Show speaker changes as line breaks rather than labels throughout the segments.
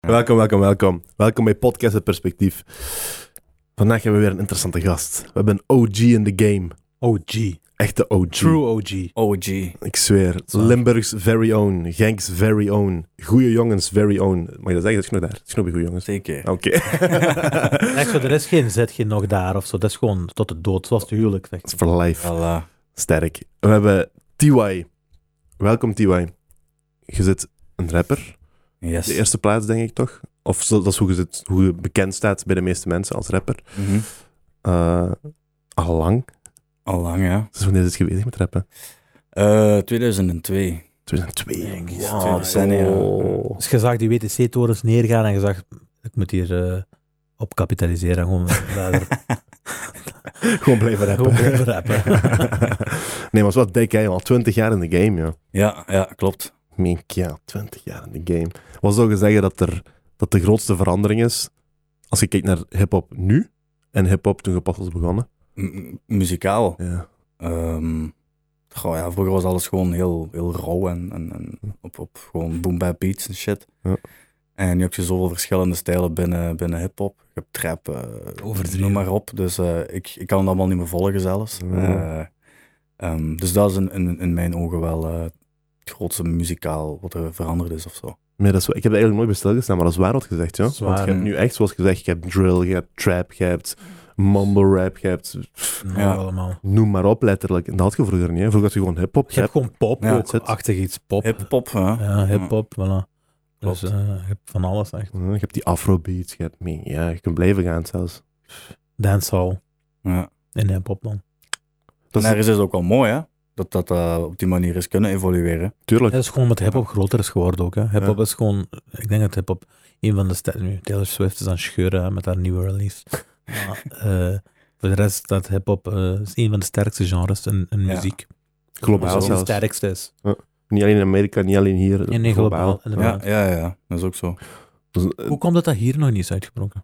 Welkom, welkom, welkom. Welkom bij Podcast Het Perspectief. Vandaag hebben we weer een interessante gast. We hebben een OG in the game.
OG.
Echte OG.
True OG.
OG.
Ik zweer. Limburgs very own. Genks very own. Goeie jongens very own. Mag je dat zeggen? Dat is genoeg daar. Dat is genoeg bij goeie jongens.
Zeker.
Oké.
Echt zo, er is geen zet, geen nog daar of zo. Dat is gewoon tot de dood, zoals het huwelijk. Zeg.
Dat is voor life.
Voilà.
Sterk. We hebben TY. Welkom TY. Je zit een rapper.
Yes.
De eerste plaats denk ik toch? Of zo- dat is hoe je, zit, hoe je bekend staat bij de meeste mensen als rapper.
Mhm.
Eh al lang.
Al lang, ja.
Dus wanneer is het geweest met rappen?
Eh, 2002.
2002.
Denk ik.
Wauw.
2000, ja.
Oh.
Dus je zag die WTC-torens neergaan en je zag, ik moet hier eh, op kapitaliseren. en Gewoon, daar-
Gewoon blijven rappen.
Gewoon blijven rappen.
nee, maar is wat dik, hè. Al 20 jaar in de game, ja.
Ja, ja, klopt.
Mink, ja, 20 jaar in de game. Wat zou je zeggen dat, er, dat de grootste verandering is als je kijkt naar hip-hop nu en hip-hop toen je pas was begonnen?
M- m- muzikaal.
Ja.
Ehm, goh, ja, vroeger was alles gewoon heel, heel rauw en, en, en op, op gewoon boom bap beats en shit.
Ja.
En nu heb je zoveel verschillende stijlen binnen, binnen hip-hop. Je hebt trap, eh,
Overdreven.
noem maar op. Dus eh, ik, ik kan het allemaal niet meer volgen zelfs.
Ja.
Eh, ehm, dus dat is in, in, in mijn ogen wel eh, het grootste muzikaal wat er veranderd is of zo.
Nee, dat is, wa- ik heb er eigenlijk nooit bij stilgestaan, maar dat is waar wat gezegd, ja.
Zwaar,
Want je hebt
hè.
nu echt, zoals gezegd, je hebt drill, je hebt trap, je hebt mumble rap, je hebt... pff,
nou,
Ja.
allemaal.
Noem maar op, letterlijk. En dat had je vroeger niet, hè. Vroeger had je gewoon hip-hop,
Je hebt
rap.
gewoon pop,
Ja,
ook,
zit.
achtig iets pop.
Hip-hop, hè?
Ja, hip-hop, voilà.
Klopt.
Dus eh, je hebt van alles echt.
Ja, Je hebt die afrobeats, je hebt... mink, Ja, je kunt blijven gaan zelfs.
Dancehall
Ja.
in hip-hop dan.
Dat
en
is
daar is het ook wel mooi, hè? Dat dat eh, op die manier is kunnen evolueren.
natuurlijk...
Dat is gewoon wat hip-hop groter is geworden ook. hè. Hip-hop
Ja.
is gewoon, ik denk dat hip-hop een van de sterren nu. Taylor Swift is aan het scheuren hè, met haar nieuwe release. Maar, eh, voor de rest dat hip-hop eh, is een van de sterkste genres in, in
Ja.
muziek.
Globaal
Als het
zelfs.
het sterkste is.
Niet alleen in Amerika, niet alleen hier.
Nee, nee, globaal.
Ja,
inderdaad.
ja, ja, dat is ook zo.
Dus, eh,
Hoe komt het dat hier nog niet is uitgebroken?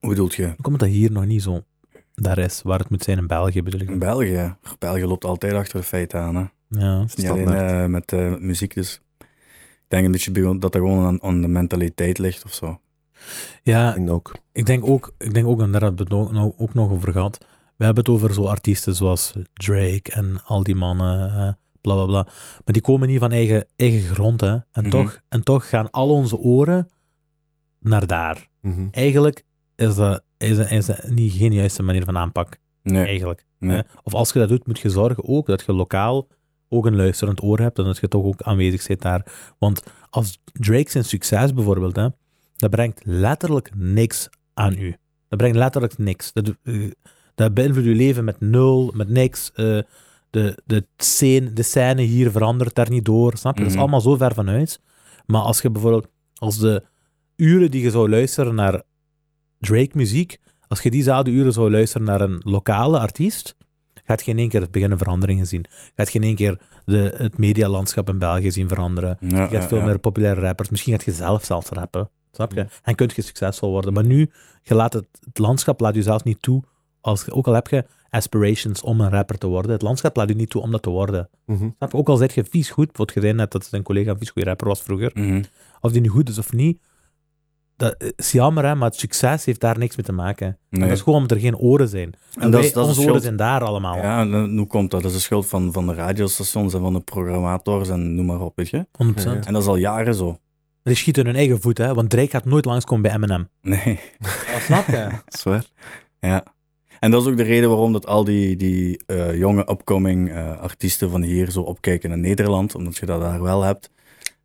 Hoe bedoelt je?
Hoe komt het dat hier nog niet zo daar is, waar het moet zijn in België bedoel ik.
Mm.
In België. België loopt altijd achter de feiten aan, hè?
Ja.
Het is niet alleen
Standaard.
eh, met eh, muziek, dus... Ik denk een beetje bij- dat dat gewoon aan, aan de mentaliteit ligt of zo. eh,
ja,
en ook.
ik denk ook, ik denk ook en daar hebben we het ook nog- ook nog over gehad. We hebben het over zo artiesten zoals Drake en al die mannen, eh, bla bla bla. Maar die komen niet van eigen, eigen grond, hè. En,
Mhm.
toch, en toch gaan al onze oren naar daar.
Mhm.
Eigenlijk is dat, is dat, is dat niet, geen juiste manier van aanpak.
Nee,
eigenlijk.
nee.
Hè? Of als je dat doet, moet je zorgen ook dat je lokaal ook een luisterend oor hebt en dat je toch ook aanwezig zit daar. Want als Drake zijn succes bijvoorbeeld, hè, dat brengt letterlijk niks aan u. Dat brengt letterlijk niks. Dat, eh, dat beïnvloedt uw leven met nul, met niks. eh, de, de, scene, de scène hier verandert daar niet door, snap je? Dat is
Mhm.
allemaal zo ver van huis. Maar als je bijvoorbeeld, als de uren die je zou luisteren naar Drake-muziek, als je die zouden uren zou luisteren naar een lokale artiest, gaat je in één keer het beginnen veranderingen zien. Gaat je in één keer de, het medialandschap in België zien veranderen.
Ja,
Je
ja,
gaat veel
ja. Mhm.
meer populaire rappers. Misschien gaat je zelf zelfs rappen. Snap je? En kunt je succesvol worden. Maar nu, je laat het, het landschap laat je zelf niet toe. Als, je- ook al heb je aspirations om een rapper te worden, het landschap laat je niet toe om dat te worden.
Mhm.
Snap je? Ook al zeg je vies goed, wat je zei net dat zijn collega een vies goede rapper was vroeger
Mhm.
of die nu goed is of niet, dat eh, is jammer, hè, maar het succes heeft daar niks mee te maken. En
Nee.
Dat is gewoon omdat er geen oren zijn. En
dat
wij-
is- dat
onze
is het
oren
schuld.
zijn daar allemaal.
Ja, en dan- hoe komt dat? Dat is de schuld van, van de radiostations en van de programmators en noem maar op, weet je?
100%.
Ja,
En dat is al jaren zo.
Die schieten hun eigen voet, hè, want Drake gaat nooit langskomen bij Eminem.
Nee. Ah,
snap je?
Dat is waar.
Ja. En dat is ook de reden waarom dat al die, die eh, jonge upcoming eh, artiesten van hier zo opkijken naar Nederland, omdat je dat daar wel hebt.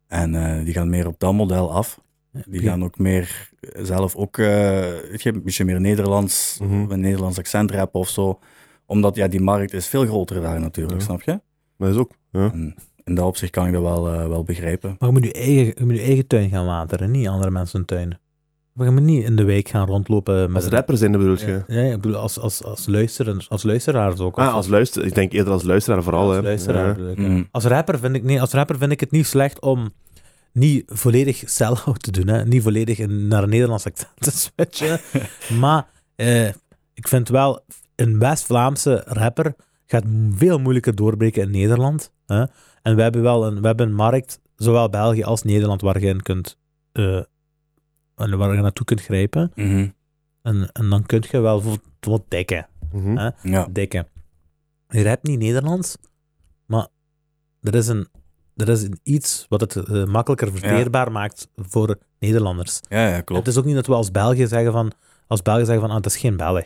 En eh, die gaan meer op dat model af. Die gaan ook meer zelf ook eh, weet je, een beetje meer Nederlands,
Mhm.
met een Nederlands accent rappen of zo. Omdat ja, die markt is veel groter daar natuurlijk,
Ja.
snap je?
Maar dat is ook. Ja.
En in dat opzicht kan ik dat wel, eh, wel begrijpen.
Maar je moet je eigen, je moet je eigen tuin gaan wateren, niet andere mensen hun tuin. Maar je moet niet in de wijk gaan rondlopen met
Als rapper zijn, dat bedoel je?
Ja, ja, ik bedoel, als, als, als, luisteren, als luisteraars ook.
Ah,
Of-
als luister, ik denk eerder als luisteraar vooral.
Als
hè.
luisteraar
Ja.
bedoel ik,
Mm.
Als rapper, vind ik, nee, als rapper vind ik het niet slecht om niet volledig sell-out te doen. Hè? Niet volledig in- naar een Nederlands accent te switchen. maar eh, ik vind wel, een West-Vlaamse rapper gaat m- veel moeilijker doorbreken in Nederland. Hè? En we hebben wel een, we hebben een markt, zowel België als Nederland, waar je in kunt eh, en waar je naartoe kunt grijpen.
Mhm.
En, en dan kun je wel wat, wat dekken.
Mhm.
Ah.
Ja.
Dekken. Je hebt niet Nederlands, maar er is, een, er is een iets wat het eh, makkelijker verteerbaar maakt voor Nederlanders.
Ja, ja, klopt.
Het is ook niet dat we als België zeggen van, als België zeggen van, ah, het is geen Belg.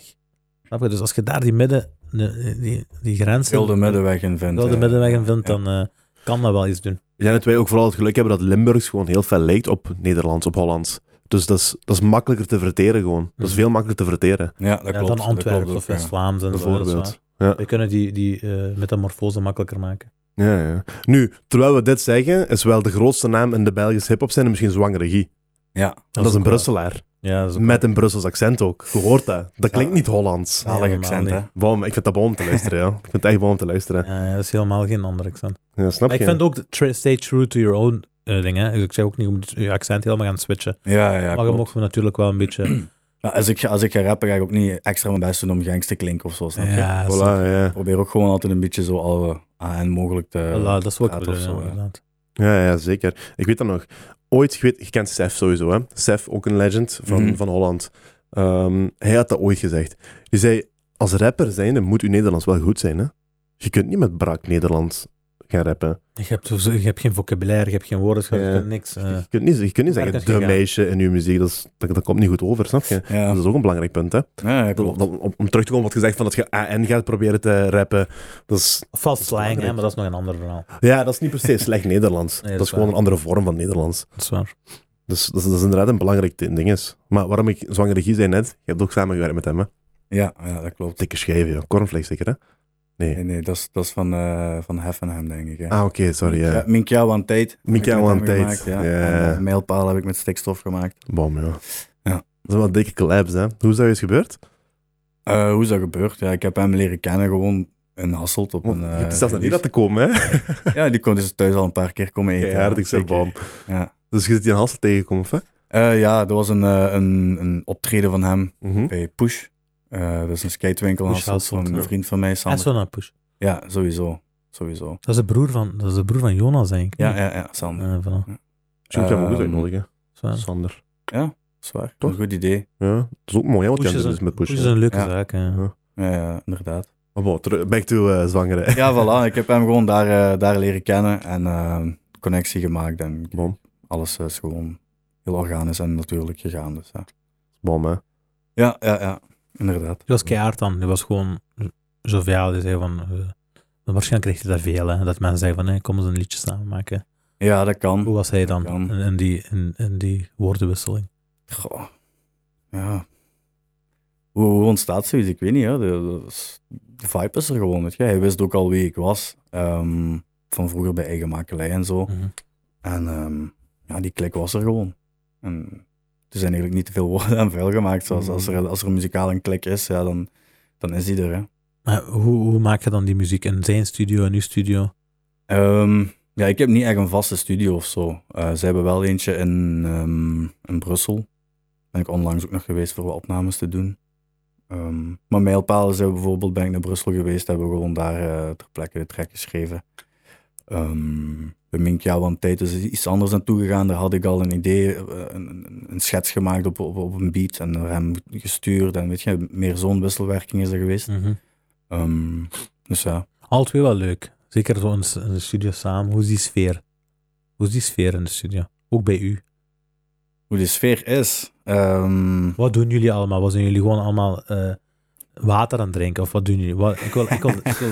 Snap je? Dus als je daar die midden, die, die, die grenzen...
Wilde middenweg in vindt.
wilde
eh,
dus- middenweg in vindt,
ja.
dan eh, kan dat wel iets doen.
Ik denk dat wij ook vooral het geluk hebben dat Limburgs gewoon heel veel lijkt op Nederlands, op Hollands. Dus dat is, dat is makkelijker te verteren gewoon. Dat is
Mhm.
veel makkelijker te verteren,
Ja, dat
Ja,
klopt.
dan
dat
Antwerpen
klopt
of
ook, ja.
West-Vlaams en zo. dat is
bijvoorbeeld.
waar.
Ja.
We kunnen die, die eh, metamorfose makkelijker maken.
Ja, ja. Nu, terwijl we dit zeggen, is wel de grootste naam in de Belgische hip-hop scène misschien Zwangere Guy.
Ja,
Dat, is een Brusselaar.
Ja, dat is ook
Met een Brussels accent ook. Je hoort dat. Dat klinkt niet Hollands.
Nee,
zalig
helemaal
accent,
niet.
hè.
Bom, ik vind dat bom om te luisteren, ja. Ik vind het echt bom om te luisteren.
Ja, ja, dat is helemaal geen ander accent.
Ja, snap
Maar
je?
ik vind ook, de tra- stay true to your own eh, ding. Hè. Dus ik zeg ook niet, je moet je accent helemaal gaan switchen.
Ja, ja,
maar je
klopt.
mocht natuurlijk wel een beetje...
Ja, als, ik, ga- als ik ga rappen, ga ik ook niet extra mijn best doen om gangs te klinken of zo, snap je?
ja,
Voilà,
zo-
ja.
Ik probeer ook gewoon altijd een beetje zo alle aan mogelijk te...
voilà, dat is wat ik bedoel,
Praat of zo,
ja,
ja.
inderdaad.
Ja, ja, zeker. Ik weet dat nog. Ooit, je, weet, je kent Sef sowieso, hè. Sef, ook een legend van,
Mhm.
van Holland. Ehm, hij had dat ooit gezegd. Die zei, als rapper zijnde moet uw Nederlands wel goed zijn, hè. Je kunt niet met brak Nederlands gaan rappen.
Je hebt, sowieso- je hebt geen vocabulaire, je hebt geen woordenschat, je
Ja.
hebt niks. eh.
Je kunt niet, je kunt niet
Daar
zeggen,
kun je
de
gaan.
meisje in uw muziek, dat, is- dat, dat komt niet goed over, snap je?
Ja,
Dat is ook een belangrijk punt, hè.
ja, ja, klopt.
Dat- om, om terug te komen wat gezegd van dat je AN gaat proberen te rappen. Dat is,
Of wel
is
slang, hè,
belangrijk.
maar dat is nog een ander verhaal.
ja, dat is niet per se slecht Nederlands.
Nee, dat
dat,
is
is gewoon
waar.
een andere vorm van Nederlands.
Dat is waar.
Dus dat is, dat is inderdaad een belangrijk di- ding. Is. Maar waarom ik zwanger regie zei net, je hebt ook samengewerkt met hem, hè?
Ja, ja, dat klopt.
Dikke schijven, ja. Cornflakes zeker, hè? Nee.
Nee, nee, dat is, dat is van, eh van Heffenheim, denk ik. Hè.
Ah, oké, sorry. Ja.
Ja, Minkjouw aan Tate.
Minkjouw
Heb ik
aan
met hem
Tate,
gemaakt, Ja.
ja.
En, eh, Mijlpaal heb ik met stikstof gemaakt.
Bom, ja.
Ja.
Dat zijn wel dikke collabs, hè? Hoe zou je het gebeurd?
Eh, hoe is dat gebeurd? Ja, ik heb hem leren kennen gewoon in Hasselt. Op een,
je
eh,
hebt Oh, zelfs naar hier
release.
laten komen, hè?
Ja, die kon dus thuis al een paar keer komen eten.
Ja, ik zeg
Zeker.
bom.
Ja.
Dus je zit hier een Hassel tegengekomen, of hè?
Eh, ja, er was een, eh, een, een optreden van hem
Mhm.
bij Push. Eh, dat is een skatewinkel in
Push
Hasselt van
Hasselt,
een
ja.
vriend van mij, Sander.
Eswana Push.
Ja, sowieso. Sowieso.
Dat is de broer van, dat is de broer van Jonas, denk ik.
Ja, ja, ja, Sander.
Eh, voilà.
Misschien moeten we hem ook eens
Ehm,
uitnodigen.
Zwaar.
Sander.
Zwaar.
Toch?
Een goed idee.
Ja, dat is ook mooi, hè, wat je
Push
aan het
is
doen
een,
is met
Push
pushen.
is een leuke
Ja.
zaak. eh.
Ja.
Ja, ja, inderdaad.
Maar bon, terug- back to eh, zwangere.
Ja, voilà. Ik heb hem gewoon daar, eh, daar leren kennen en eh, connectie gemaakt. En
Bom,
alles eh, is gewoon heel organisch en natuurlijk gegaan. Dus, ja.
bom, hè.
ja, ja, ja. Inderdaad.
Die was keihard dan. Die was gewoon joviaal. Die zei van... eh, maar waarschijnlijk kreeg hij daar veel, hè. Dat mensen zeiden van, hey, kom eens een liedje samen maken.
Ja, dat kan.
Hoe was hij dan
Kan.
in, in die, in, in die woordenwisseling?
Goh. Ja. Hoe, hoe ontstaat zoiets? Ik weet niet. Hè. De, de- de vibe is er gewoon. Weet je. Hij wist ook al wie ik was. ehm, van vroeger bij eigen makelij en zo.
Mhm.
En ehm, ja, die klik was er gewoon. En er zijn eigenlijk niet te veel woorden aan vuil gemaakt. Zoals als, er, als er muzikaal een klik is, ja, dan, dan is die er. Hè.
Maar hoe, hoe maak je dan die muziek in zijn studio en uw studio?
Ehm, ja, ik heb niet echt een vaste studio of zo. Eh, ze hebben wel eentje in, ehm, in Brussel. Ben ik onlangs ook nog geweest voor wat opnames te doen. Ehm, maar mijlpalen zijn we bijvoorbeeld, ben ik naar Brussel geweest, hebben we gewoon daar eh, ter plekke de track geschreven. Ehm bij Minkja, want tijd is er iets anders aan toegegaan. Daar had ik al een idee, eh, een, een- een schets gemaakt op, op, op een beat en naar hem gestuurd. En weet je, meer zo'n wisselwerking is er geweest.
Mhm.
Ehm, dus ja,
Al twee wel leuk. Zeker zo in, s- in de studio samen. Hoe is die sfeer? Hoe is die sfeer in de studio? Ook bij u.
hoe de sfeer is. ehm,
Wat doen jullie allemaal? Wat zijn jullie gewoon allemaal eh, water aan het drinken? Of wat doen jullie? Wat, ik wil... Ik wil, ik wil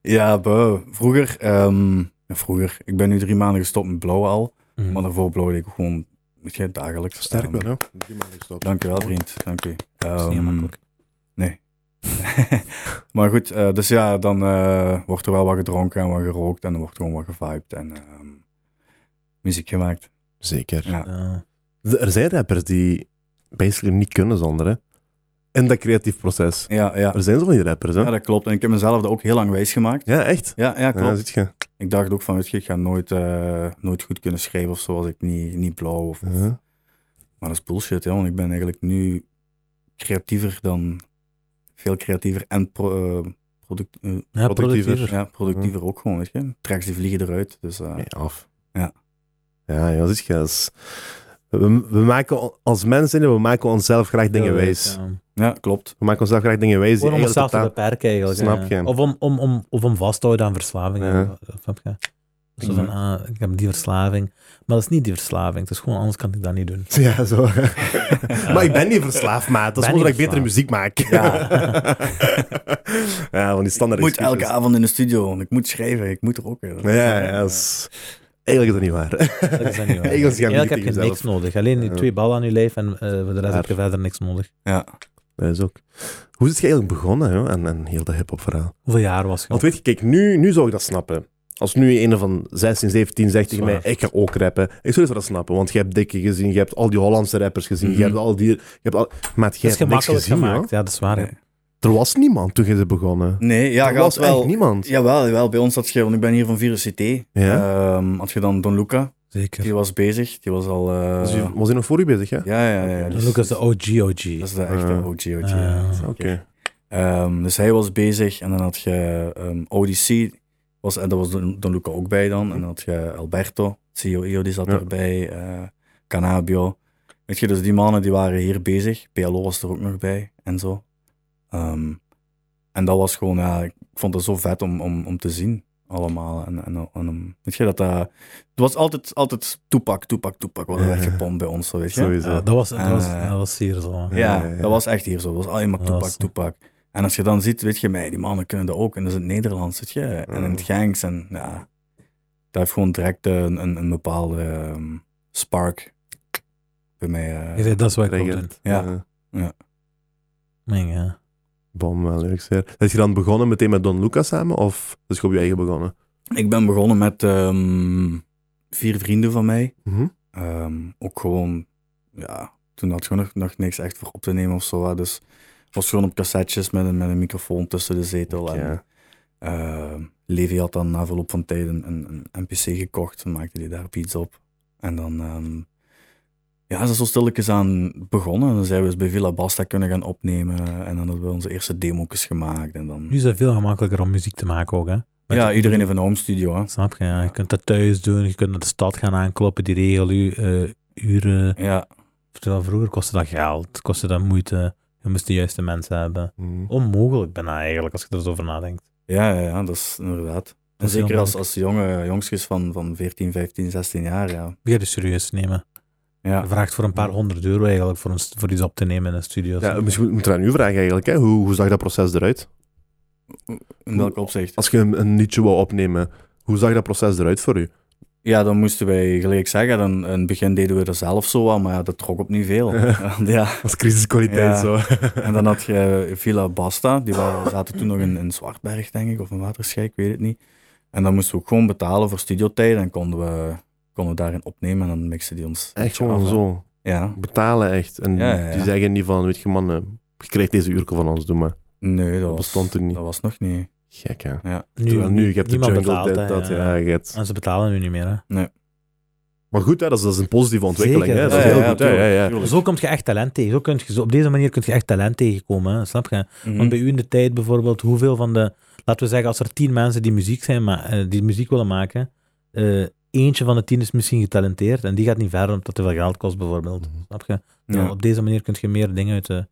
Ja, bro. Vroeger, ehm, ja, vroeger. Ik ben nu drie maanden gestopt met blauw al.
Mhm.
Maar daarvoor blauwde ik gewoon, weet je, dagelijks.
Sterk
Ehm,
wel, hè.
Dankjewel, vriend. Dank u.
Dat is niet
Ehm,
makkelijk.
maar goed, eh, dus ja, dan eh, wordt er wel wat gedronken en wat gerookt. En dan wordt gewoon wat gevibed en ehm, muziek gemaakt.
Zeker.
Ja.
Eh,
De- Er zijn rappers die basically niet kunnen zonder, hè. In dat creatief proces.
Ja, ja.
Er zijn zo van die rappers, hè.
ja, dat klopt. En ik heb mezelf dat ook heel lang wijs gemaakt.
Ja, echt.
Ja, ja,
Ja,
klopt.
ziet je.
Ik dacht ook van, weet je, ik ga nooit, eh, nooit goed kunnen schrijven of zo als ik niet, niet blauw of
Ja.
Maar dat is bullshit, ja, want ik ben eigenlijk nu creatiever dan. Veel creatiever en pro- eh, product, eh,
ja, productiever.
productiever.
ja, productiever ook gewoon, weet je. Tracks die vliegen eruit. Dus, eh,
Nee, af.
Ja.
Ja, ja, ziet je. dat is- We, we maken on- als mensen, we maken onszelf graag dingen wijs.
Ja.
Ja, klopt.
We maken onszelf graag dingen wijs. Die
Gewoon om
eigenlijk
onszelf te
totaal-
beperken eigenlijk.
Snap
Ja.
je.
Of om, om, om, of om vast te houden aan verslavingen.
Ja.
Snap je? Zo van, ah, ik heb die verslaving. Maar dat is niet die verslaving. Het is gewoon, anders kan ik dat niet doen.
Ja, zo. maar ik ben niet verslaafd, maat. Dat is
Ben
gewoon dat ik
niet
betere muziek maak. Ja, van die
Ik
standaard
moet
excuses.
elke avond in de studio, want ik moet schrijven, ik moet er ook.
Ja, ja, dat is... Eigenlijk is dat niet waar.
Dat is dat niet waar.
Eigenlijk is het
Eigenlijk heb je
tegen jezelf.
niks nodig. Alleen die
Ja.
twee ballen aan je lijf en eh, voor de rest heb je
Waar.
verder niks nodig.
Ja.
Dat is ook... Hoe is het eigenlijk begonnen, joh, aan, aan heel dat hip-hop verhaal?
Hoeveel jaar was je?
Want weet je, kijk, nu, nu zou ik dat snappen. Als nu een van 16, 17 zegt tegen mij,
Zwaar.
ik ga ook rappen. Ik zou dat snappen, want je hebt Dikke gezien, je hebt al die Hollandse rappers gezien,
Mhm.
je hebt al die... Je hebt al... Maar je
dat is
hebt niks
gemakkelijk
gezien,
gemaakt.
joh.
Ja, dat is waar. hè.
Nee.
Er was niemand toen je ze begonnen.
Nee, ja,
er
je had
was echt
wel...
niemand.
Jawel, jawel, bij ons had je, want ik ben hier van Virus CT. Ehm, had je dan Don Luca,
Zeker.
die was bezig, die was al... eh,
Dus je- was hij nog voor u bezig, hè?
Ja, ja, ja. ja,
Dat
dus-
is ook als de OG OG.
Dat is de echte
Ah.
OG, OG. ja.
Ah.
Oké.
Ehm, dus hij was bezig en dan had je ehm ODC, was, en daar was Don, Don Luca ook bij dan. En dan had je Alberto, E COIO, die zat
Ja.
erbij, eh, Canabio. Weet je, dus die mannen die waren hier bezig. PLO was er ook nog bij en zo. Ehm, en dat was gewoon, ja, ik vond het zo vet om, om, om te zien, allemaal. En, en, en om- weet je, dat dat... Het was altijd, altijd toepak, toepak, toepak, wat er
Ja.
werd gepompt bij ons, zo, weet je.
Sowieso.
Ja, dat was, dat was,
Eh.
dat was hier zo.
Ja,
Ja,
ja, ja.
dat was echt hier zo. Dat was alleen maar
Dat
toepak,
was-
toepak. En als je dan ziet, weet je, mij, die mannen kunnen dat ook. En dat is in het Nederlands, weet je. En in het Genks. En ja, dat heeft gewoon direct eh, een, een, een bepaalde ehm, spark bij mij. eh.
Je zei, dat is wat ik wil doen.
Regent.
Ja.
Eh,
Mijn, ja.
Bom, wel leuk zeer. Is je dan begonnen meteen met Don Lucas samen, of is je op je eigen begonnen?
Ik ben begonnen met ehm, vier vrienden van mij.
Mhm.
Ehm, ook gewoon, ja, toen had je nog, nog niks echt voor op te nemen of zo. hè. Dus het was gewoon op cassetjes met een, met een microfoon tussen de zetel. En,
Ja.
Eh, Levi had dan na verloop van tijd een, een, een NPC gekocht en maakte die daar beats op. En dan, ehm, ja, is dat zo stilletjes aan begonnen. En dan zijn we eens bij Villa Basta kunnen gaan opnemen. En dan hebben we onze eerste demo's gemaakt. En dan,
Nu is het veel gemakkelijker om muziek te maken ook, hè? Met-
ja, iedereen heeft een home studio, hè.
Snap je? Ja. Je kunt dat thuis doen, je kunt naar de stad gaan aankloppen, die regel je eh, uren.
Ja,
Terwijl vroeger kostte dat geld, kostte dat moeite. Je moest de juiste mensen hebben.
Mhm.
Onmogelijk bijna eigenlijk, als je er zo over nadenkt.
ja, ja, ja, dat is inderdaad. En
is heel
zeker als,
moeilijk.
als jonge jongstjes van, van 14, 15, 16 jaar, ja.
Begin je serieus te nemen.
Ja,
Je vraagt voor een paar honderd euro eigenlijk voor, een, st- voor iets op te nemen in een studio.
Ja, misschien moet ik aan u vragen eigenlijk, hè? Hoe, hoe zag dat proces eruit?
in welk opzicht?
Als je een, een liedje wou opnemen, hoe zag dat proces eruit voor u?
Ja, dan moesten wij gelijk zeggen, dan, in het begin deden we er zelf zo aan, maar ja, dat trok op niet veel. ja.
Als crisiskwaliteit
Ja.
zo.
En dan had je Villa Basta, die waren, zaten toen nog in, in Zwartberg, denk ik, of in Waterschei, ik weet het niet. En dan moesten we ook gewoon betalen voor studiotijd en konden we, konden we daarin opnemen en dan mixen die ons.
Echt gewoon zo.
Ja,
Betalen echt. En
Ja, ja, ja.
die zeggen niet van, weet je man, eh, je krijgt deze uurkel van ons, doe maar.
nee, dat, was,
bestond toen niet.
Dat was nog niet.
Gek hè.
Ja.
Terwijl nu, je hebt de
niemand
jungle,
betaalt,
dit,
hè,
dat, ja. je hebt-
En ze betalen nu niet meer, hè?
Maar goed, hè, dat, is, dat is een positieve ontwikkeling.
Zeker.
Hè? Dat is
Ja,
heel
ja,
goed. hè, Ja, ja,
tuurlijk.
Zo kom je echt talent tegen. Zo kun je, zo, op deze manier kun je echt talent tegenkomen, hè? snap je?
Mhm.
Hmm.
Want bij u in de tijd bijvoorbeeld, hoeveel van de... Laten we zeggen, als er tien mensen die muziek, zijn, ma- eh, die muziek willen maken, eh, eentje van de tien is misschien getalenteerd en die gaat niet verder omdat het te veel geld kost bijvoorbeeld. Snap je? Terwijl
Ja.
Op deze manier kun je meer dingen uit de...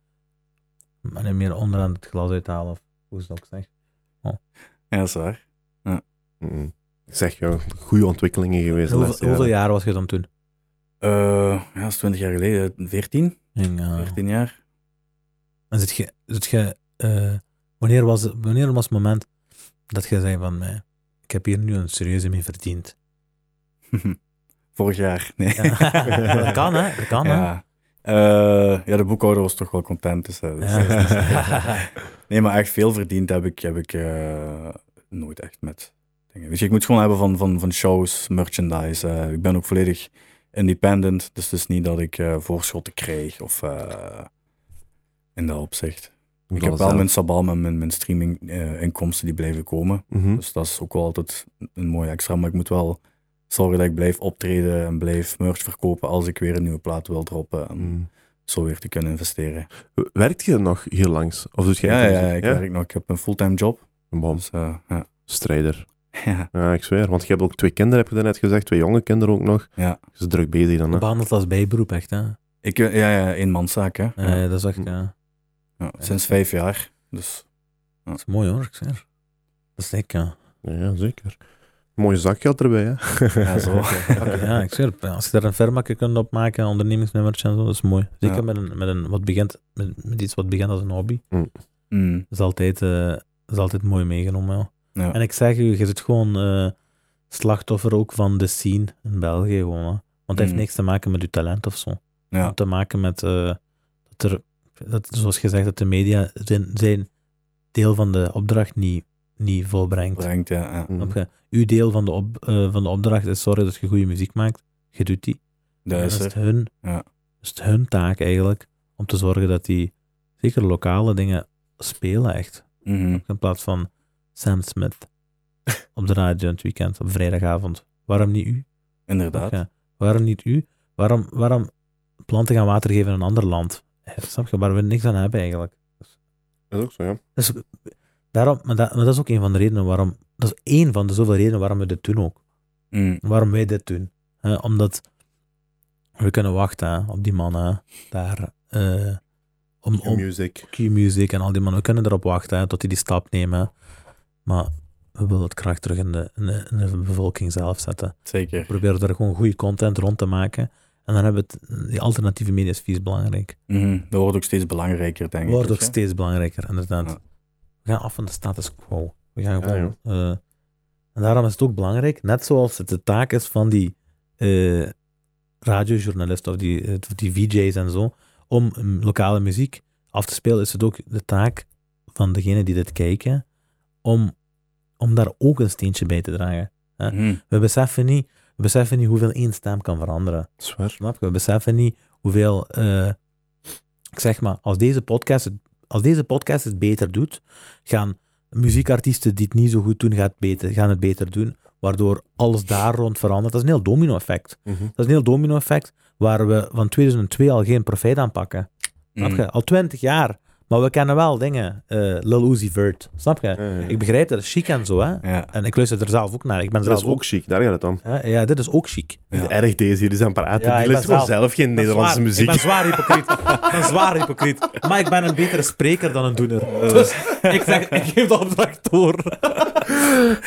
en Meer onderaan het glas uithalen of hoe ze het ook zeggen.
ja, dat is waar.
Mhm. Ik zeg, joh, goede ontwikkelingen geweest. de
Hoeveel,
laatste
hoeveel
jaren.
jaar was je dan toen?
Eh, ja, dat is 20 jaar geleden, 14,
En, eh,
14 jaar.
en zit je... Zit je eh, wanneer, was, het- wanneer was het moment dat je zei van... mij ik heb hier nu een serieuze mee verdiend.
Vorig jaar, nee.
Ja. dat kan, hè? Dat kan, hè?
Ja. Eh, ja, de boekhouder was toch wel content. Dus, eh, dus-
Ja.
Nee, maar echt veel verdiend heb ik, heb ik eh, nooit echt met dingen. Weet je, ik moet het gewoon hebben van, van, van shows, merchandise. eh, ik ben ook volledig independent, dus het is niet dat ik eh, voorschotten krijg of eh, in dat opzicht.
Doe dat
Ik heb wel
zelf.
mijn sabal en mijn, mijn streaminginkomsten die blijven komen.
Mhm.
Dus dat is ook wel altijd een mooi extra, maar ik moet wel zorgen dat ik blijf optreden en blijf merch verkopen als ik weer een nieuwe plaat wil droppen. En
Mhm.
zo weer te kunnen investeren. eh,
Werkt je nog hier langs? Of doet je
Ja,
enkel
ja, ja,
muziek?
ik werk nog. Ik heb een fulltime job.
Een bom.
Dus, eh, ja.
Strijder.
Ja.
Ja, ik zweer. Want je hebt ook twee kinderen, heb je net gezegd. Twee jonge kinderen ook nog.
Ja.
Ze is druk bezig dan, hè.
Behandeld als bijberoep, echt. Hè?
Ik, eh, ja, ja, eenmanszaak, hè.
Ja,
Ja.
ja, dat is echt... Ja.
Ja, sinds vijf jaar. Dus
Dat is mooi hoor, ik zeg. Dat is lekker. ja.
Ja, zeker. Mooie zakgeld erbij, hè.
ja, zo.
Ja, ik zeg, als je daar een firmaatje kunt opmaken, een ondernemingsnummertje en zo, dat is mooi. Zeker
Ja.
met, een, met, een, wat begint, met, met iets wat begint als een hobby.
Mm,
Dat is altijd, eh, is altijd mooi meegenomen. Ja.
ja.
En ik zeg je, je zit gewoon eh, slachtoffer ook van de scene in België gewoon. hè. Want het heeft
Mm.
niks te maken met je talent of zo. Het
ja.
heeft te maken met eh, dat er, dat, zoals gezegd, dat de media zijn, zijn deel van de opdracht niet, niet volbrengt.
Brengt, ja. ja.
Mm.
Snap je? Uw deel van de, op, eh, van de opdracht is zorgen dat je goede muziek maakt. Je doet die.
Dat
En
is
dan is
er.
het hun,
Ja.
is het hun taak eigenlijk om te zorgen dat die zeker lokale dingen spelen echt.
Mhm.
In plaats van Sam Smith op de radio in het weekend, op vrijdagavond. Waarom niet u?
Inderdaad.
Ja. Waarom niet u? Waarom, waarom planten gaan water geven in een ander land? Eh, Snap je? Waar we niks aan hebben eigenlijk.
Dat is ook zo, ja.
Dus, daarom, maar, dat, maar dat is ook een van de redenen waarom... Dat is één van de zoveel redenen waarom we dit doen ook.
Mm.
waarom wij dit doen. Hè, omdat we kunnen wachten hè, op die mannen hè, daar. eh, om, om
Music.
Q-music en al die mannen. We kunnen erop wachten hè, tot die die stap nemen. hè. Maar we willen het kracht terug in de, in de, in de bevolking zelf zetten.
Zeker.
We proberen daar gewoon goede content rond te maken. En dan hebben we het, die alternatieve media is vies belangrijk.
Mhm. Dat wordt ook steeds belangrijker, denk ik.
Wordt ook
hè?
steeds belangrijker, inderdaad.
Ja.
We gaan af van de status quo. We gaan
Ja,
gewoon. eh, en daarom is het ook belangrijk, net zoals het de taak is van die eh, radiojournalisten of die, eh, die VJ's en zo, om mm, lokale muziek af te spelen, is het ook de taak van degenen die dit kijken om, om daar ook een steentje bij te dragen.
Mhm.
We beseffen niet, we beseffen niet hoeveel één stem kan veranderen.
Zwaar.
Snap je? We beseffen niet hoeveel. eh, ik zeg maar, als deze, podcast het, als deze podcast het beter doet, gaan muziekartiesten die het niet zo goed doen, gaat beter, gaan het beter doen. Waardoor alles daar rond verandert. Dat is een heel domino-effect.
Mhm.
Dat is een heel domino-effect waar we van 2002 al geen profijt aan pakken. Snap
Mm.
Mhm.
je? Al 20 jaar. Maar we kennen wel dingen. eh Lil Uzi Vert. Snap je?
Ja, ja, ja.
Ik begrijp dat. Dat is chic en zo, hè?
Ja.
En ik luister er zelf ook naar. Ik ben
Dat
zelf
is ook chic, daar gaat het om.
hè? Ja, dit is ook chic.
Ja.
Erg deze hier, die zijn paraat.
Ja, ik
die
ben
luisteren gewoon
zwaar.
zelf geen
ben
Nederlandse
zwaar-
muziek.
Ik ben zwaar hypocriet. ik ben zwaar hypocriet. Maar ik ben een betere spreker dan een doener.
Eh.
Dus ik, zeg, ik geef de opdracht door.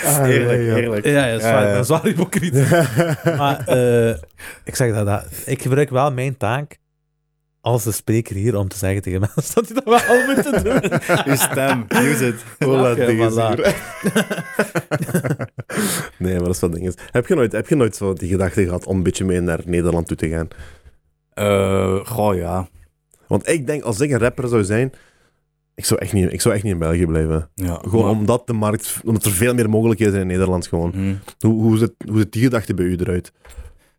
Ah,
Heerlijk,
ja, ja.
heerlijk.
Ja, ja, zwaar,
ja.
ik ben zwaar hypocriet. maar eh, ik zeg dat, dat. Ik gebruik wel mijn taak als de spreker hier om te zeggen tegen mensen dat die dat wel moeten doen.
Uw stem, use it.
Hola,
Oké,
deze
voilà.
hier. nee, maar dat is wat ding is. Heb je nooit, heb je nooit zo die gedachte gehad om een beetje mee naar Nederland toe te gaan?
Eh, goh, ja.
Want ik denk, als ik een rapper zou zijn, ik zou echt niet, ik zou echt niet in België blijven.
ja.
Gewoon
maar-
omdat de markt, omdat er veel meer mogelijkheden zijn in Nederland gewoon.
Mhm.
Hoe, hoe, zit, hoe zit die gedachte bij u eruit?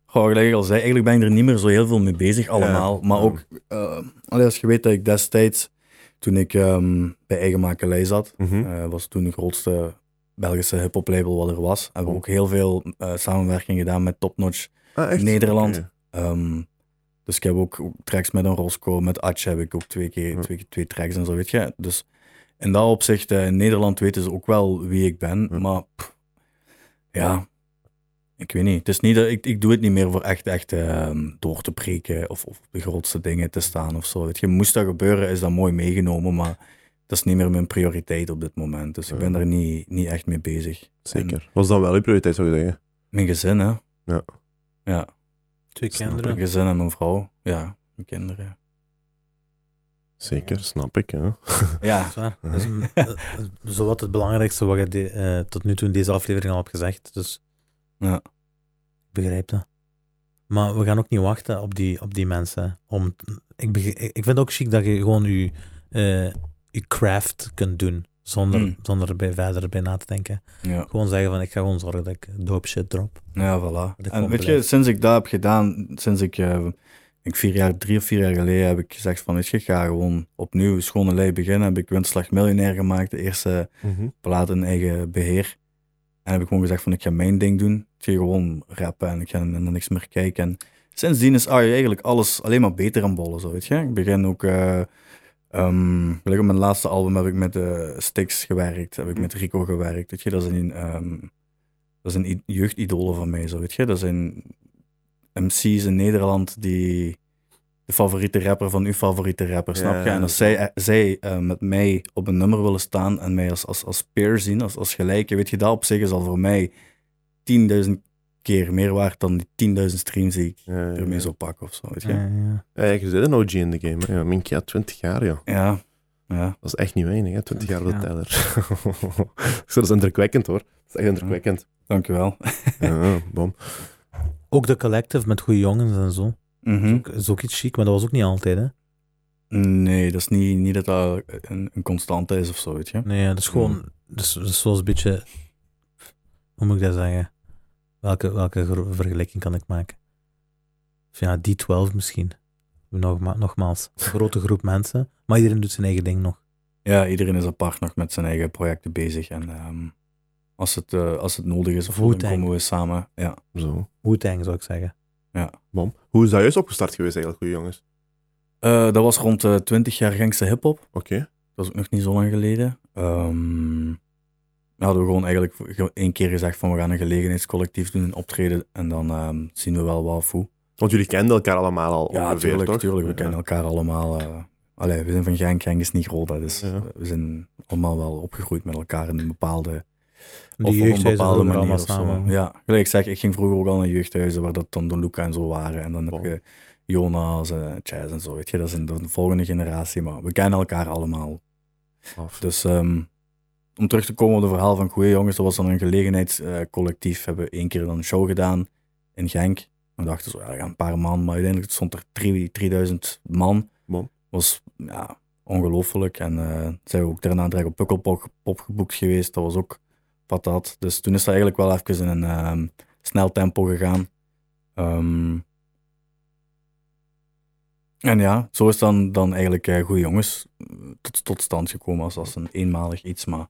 Goh, gelijk ik al zei, eigenlijk ben ik er niet meer zo heel veel mee bezig allemaal. Maar
Ja.
ook, eh, allee, als je weet dat ik destijds, toen ik ehm, bij Eigen Makelij zat,
Mhm.
eh, was toen de grootste Belgische hip-hop label wat er was. Hebben we ook heel veel eh, samenwerking gedaan met Top Notch
Ah, echt?
Nederland.
Oké.
Ehm, dus ik heb ook tracks met een Roscoe, met Atje heb ik ook twee keer
Ja.
twee, keer twee tracks en zo, weet je. Dus in dat opzicht, eh, in Nederland weten ze ook wel wie ik ben,
Ja.
maar pff, ja, ik weet niet. Het is niet dat, ik, ik doe het niet meer voor echt, echt ehm, door te breken of, of op de grootste dingen te staan of zo, weet je. Moest dat gebeuren, is dat mooi meegenomen, maar dat is niet meer mijn prioriteit op dit moment. Dus ik ben
Ja.
daar niet, niet echt mee bezig.
Zeker. Was dan wel uw prioriteit, zou je zeggen?
Mijn gezin, hè.
Ja.
Ja,
Twee
mijn gezin en mijn vrouw. Ja, mijn kinderen.
Zeker, snap ik. Ja.
Ja,
Dat is, een- dat is zowat het belangrijkste wat je de- eh, tot nu toe in deze aflevering al hebt gezegd. Dus
Ja.
ik begrijp dat. Maar we gaan ook niet wachten op die, op die mensen. Om, ik, beg- ik vind het ook chic dat je gewoon je, eh, je craft kunt doen. Zonder,
Hmm.
zonder er bij, verder bij na te denken.
ja.
Gewoon zeggen van, ik ga gewoon zorgen dat ik dope shit drop.
ja voilà.
Dat
En
komt
weet je,
beleid.
sinds ik dat heb gedaan, sinds ik, eh, ik vier jaar, drie of vier jaar geleden heb ik gezegd van, weet je, ik ga gewoon opnieuw een schone lei beginnen. Heb ik Winslag Miljonair gemaakt, de eerste plaat in eigen beheer. En heb ik gewoon gezegd van, ik ga mijn ding doen. Ik ga gewoon rappen en ik ga naar niks meer kijken. En sindsdien is AI eigenlijk alles alleen maar beter aan bollen, zo, weet je. Ik begin ook... eh, ehm, gelijk op mijn laatste album heb ik met eh Stix gewerkt, heb ik met Rico gewerkt. Weet je, dat zijn ehm, dat zijn i- jeugdidolen van mij, zo weet je. Dat zijn MC's in Nederland die de favoriete rapper van uw favoriete rapper,
Ja,
snap je? En als
dat
zij, eh, zij eh, met mij op een nummer willen staan en mij als, als, als peer zien, als, als gelijke, weet je, dat op zich is al voor mij 10.000 keer meer waard dan die 10.000 streams die ik
Ja, ja,
ermee
ja.
zou pakken of zo, weet je.
Ja, ja.
Ja, ja, je zit een OG in de game. hè. Ja, Minky, ja, 20 jaar, ja.
Ja, ja.
Dat is echt niet weinig, hè. 20 jaar op de
Ja.
teller. Ik zeg, dat is indrukwekkend, hoor. Dat is echt indrukwekkend.
Dankjewel.
Ja, bom.
Ook de collective met goede jongens en zo.
Mhm.
Ook- is ook iets chic, maar dat was ook niet altijd, hè?
Nee, dat is niet, niet dat dat een, een constante is of zo, weet je.
Nee, dat is gewoon...
Hmm.
Dat is, dat is zoals een beetje... Hoe moet ik dat zeggen? Welke, welke gro- vergelijking kan ik maken? Of Ja, die 12 misschien. Nogma nogmaals, een grote groep mensen. Maar iedereen doet zijn eigen ding nog.
Ja, iedereen is apart nog met zijn eigen projecten bezig. En ehm, als, het, eh, als het nodig is, of zo, dan
Wu-Tang.
komen we samen. Ja.
Zo.
Wu-Tang, zou ik zeggen.
Bom. Hoe is dat juist opgestart geweest, eigenlijk, goede jongens?
Eh, dat was rond eh 20 jaar Gangse hip-hop.
Oké.
Dat is ook nog niet zo lang geleden. Ehm we hadden we gewoon eigenlijk ge- één keer gezegd van we gaan een gelegenheidscollectief doen, een optreden. En dan ehm, zien we wel wat hoe.
Want jullie kenden elkaar allemaal al
Ja,
ongeveer,
tuurlijk,
toch?
tuurlijk. We kennen elkaar allemaal. eh, allee, we zijn van Genk, Genk is niet groot. hè, Dus
Ja.
eh, we zijn allemaal wel opgegroeid met elkaar in een bepaalde
Die
of op een
jeugdhuizen
bepaalde
doen er
manier
allemaal
of zo.
samen.
Ja, gelijk ik zeg, ik ging vroeger ook al naar jeugdhuizen waar dat dan Don Luca en zo waren. En dan heb
Wow.
je Jonas en Chaz en zo, weet je. Dat is een- dat is de volgende generatie, maar we kennen elkaar allemaal.
Af.
Dus ehm, om terug te komen op het verhaal van Goeie Jongens, dat was dan een gelegenheidscollectief. hebben we één keer dan een show gedaan in Genk. We dachten zo, ja, er gaan een paar man, maar uiteindelijk stond er drie- 3000 man.
Wow.
was ja, ongelooflijk. En eh, zijn we ook daarna direct op Pukkelpop pop geboekt geweest. Dat was ook patat. Dus toen is dat eigenlijk wel even in een ehm, snel tempo gegaan. Ehm, en ja, zo is dan, dan eigenlijk eh Goeie Jongens eh, tot, tot stand gekomen als, als een eenmalig iets. Maar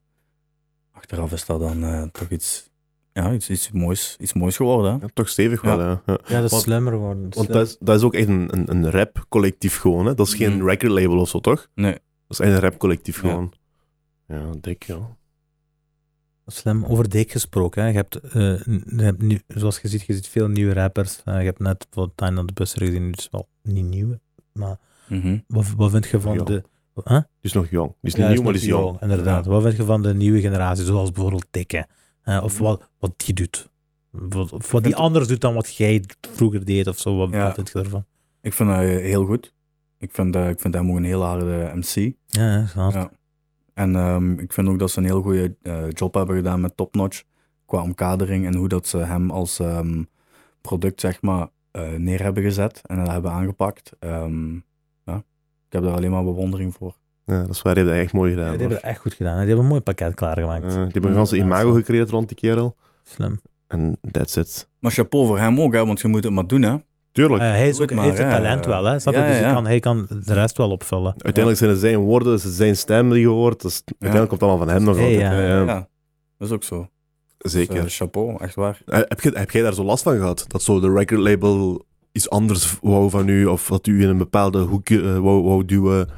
achteraf is dat dan eh, toch iets, ja, iets, iets, moois, iets moois geworden. Hè?
Ja, toch stevig wel, hè. Ja.
Ja, dat is
Want-
slimmer geworden.
Want dat is, dat is ook echt een, een, een rap collectief gewoon, hè? Dat is geen
Mhm.
record label of zo, toch?
Nee.
Dat is echt een rap collectief
Ja.
gewoon. Ja, dik, ja.
Slim. Over Dijk gesproken. Hè. Je, hebt, eh, n- je hebt nu, zoals je ziet, je ziet veel nieuwe rappers. Eh, je hebt net wat Time on the Buster gezien. Dus wel niet nieuw.
Mhm.
Wat, wat vind je van
Ja.
de. Huh?
Die is nog jong.
Dus
Die is
Ja,
niet nieuw, maar
nog
die is jong.
Inderdaad. Wat vind je van de nieuwe generatie? Zoals bijvoorbeeld Dikke. hè, of
Mhm.
wat, wat die doet. Wat, of wat die
vind-
anders doet dan wat jij vroeger deed of zo. Wat,
Ja.
wat vind je ervan?
Ik vind dat eh, heel goed. Ik vind, eh, ik vind hem ook een heel harde MC.
Ja, ja, snap.
Ja. En ehm, ik vind ook dat ze een heel goede eh, job hebben gedaan met Top Notch qua omkadering en hoe dat ze hem als ehm, product zeg maar eh, neer hebben gezet en dat hebben aangepakt. Ehm, ja. Ik heb daar alleen maar bewondering voor.
Ja, dat is waar. Die hebben dat echt mooi
Ja,
gedaan.
die
hoor.
hebben het echt goed gedaan. hè. Die hebben een mooi pakket klaargemaakt.
Eh, die hebben een ganse imago gecreëerd rond die kerel.
Slim.
En that's it.
Maar chapeau voor hem ook, hè, want je moet het maar doen. Hè.
Tuurlijk.
Eh, hij is
doe
ook,
het
hij heeft
maar,
het
hè.
talent wel. Hè. Snap je?
Ja,
Dus hij
ja.
kan, hij kan de rest wel opvullen.
Uiteindelijk zijn het zijn woorden, is het zijn stem die je hoort. Dus uiteindelijk komt het allemaal van hem nog
Hey,
altijd.
ja.
Ja, ja,
Ja, dat is ook zo. Dus,
Zeker.
eh, chapeau, echt waar.
Eh, Heb, je, heb jij daar zo last van gehad? Dat zo de record label iets anders wou van u, of dat u in een bepaalde hoekje eh, wou, wou duwen,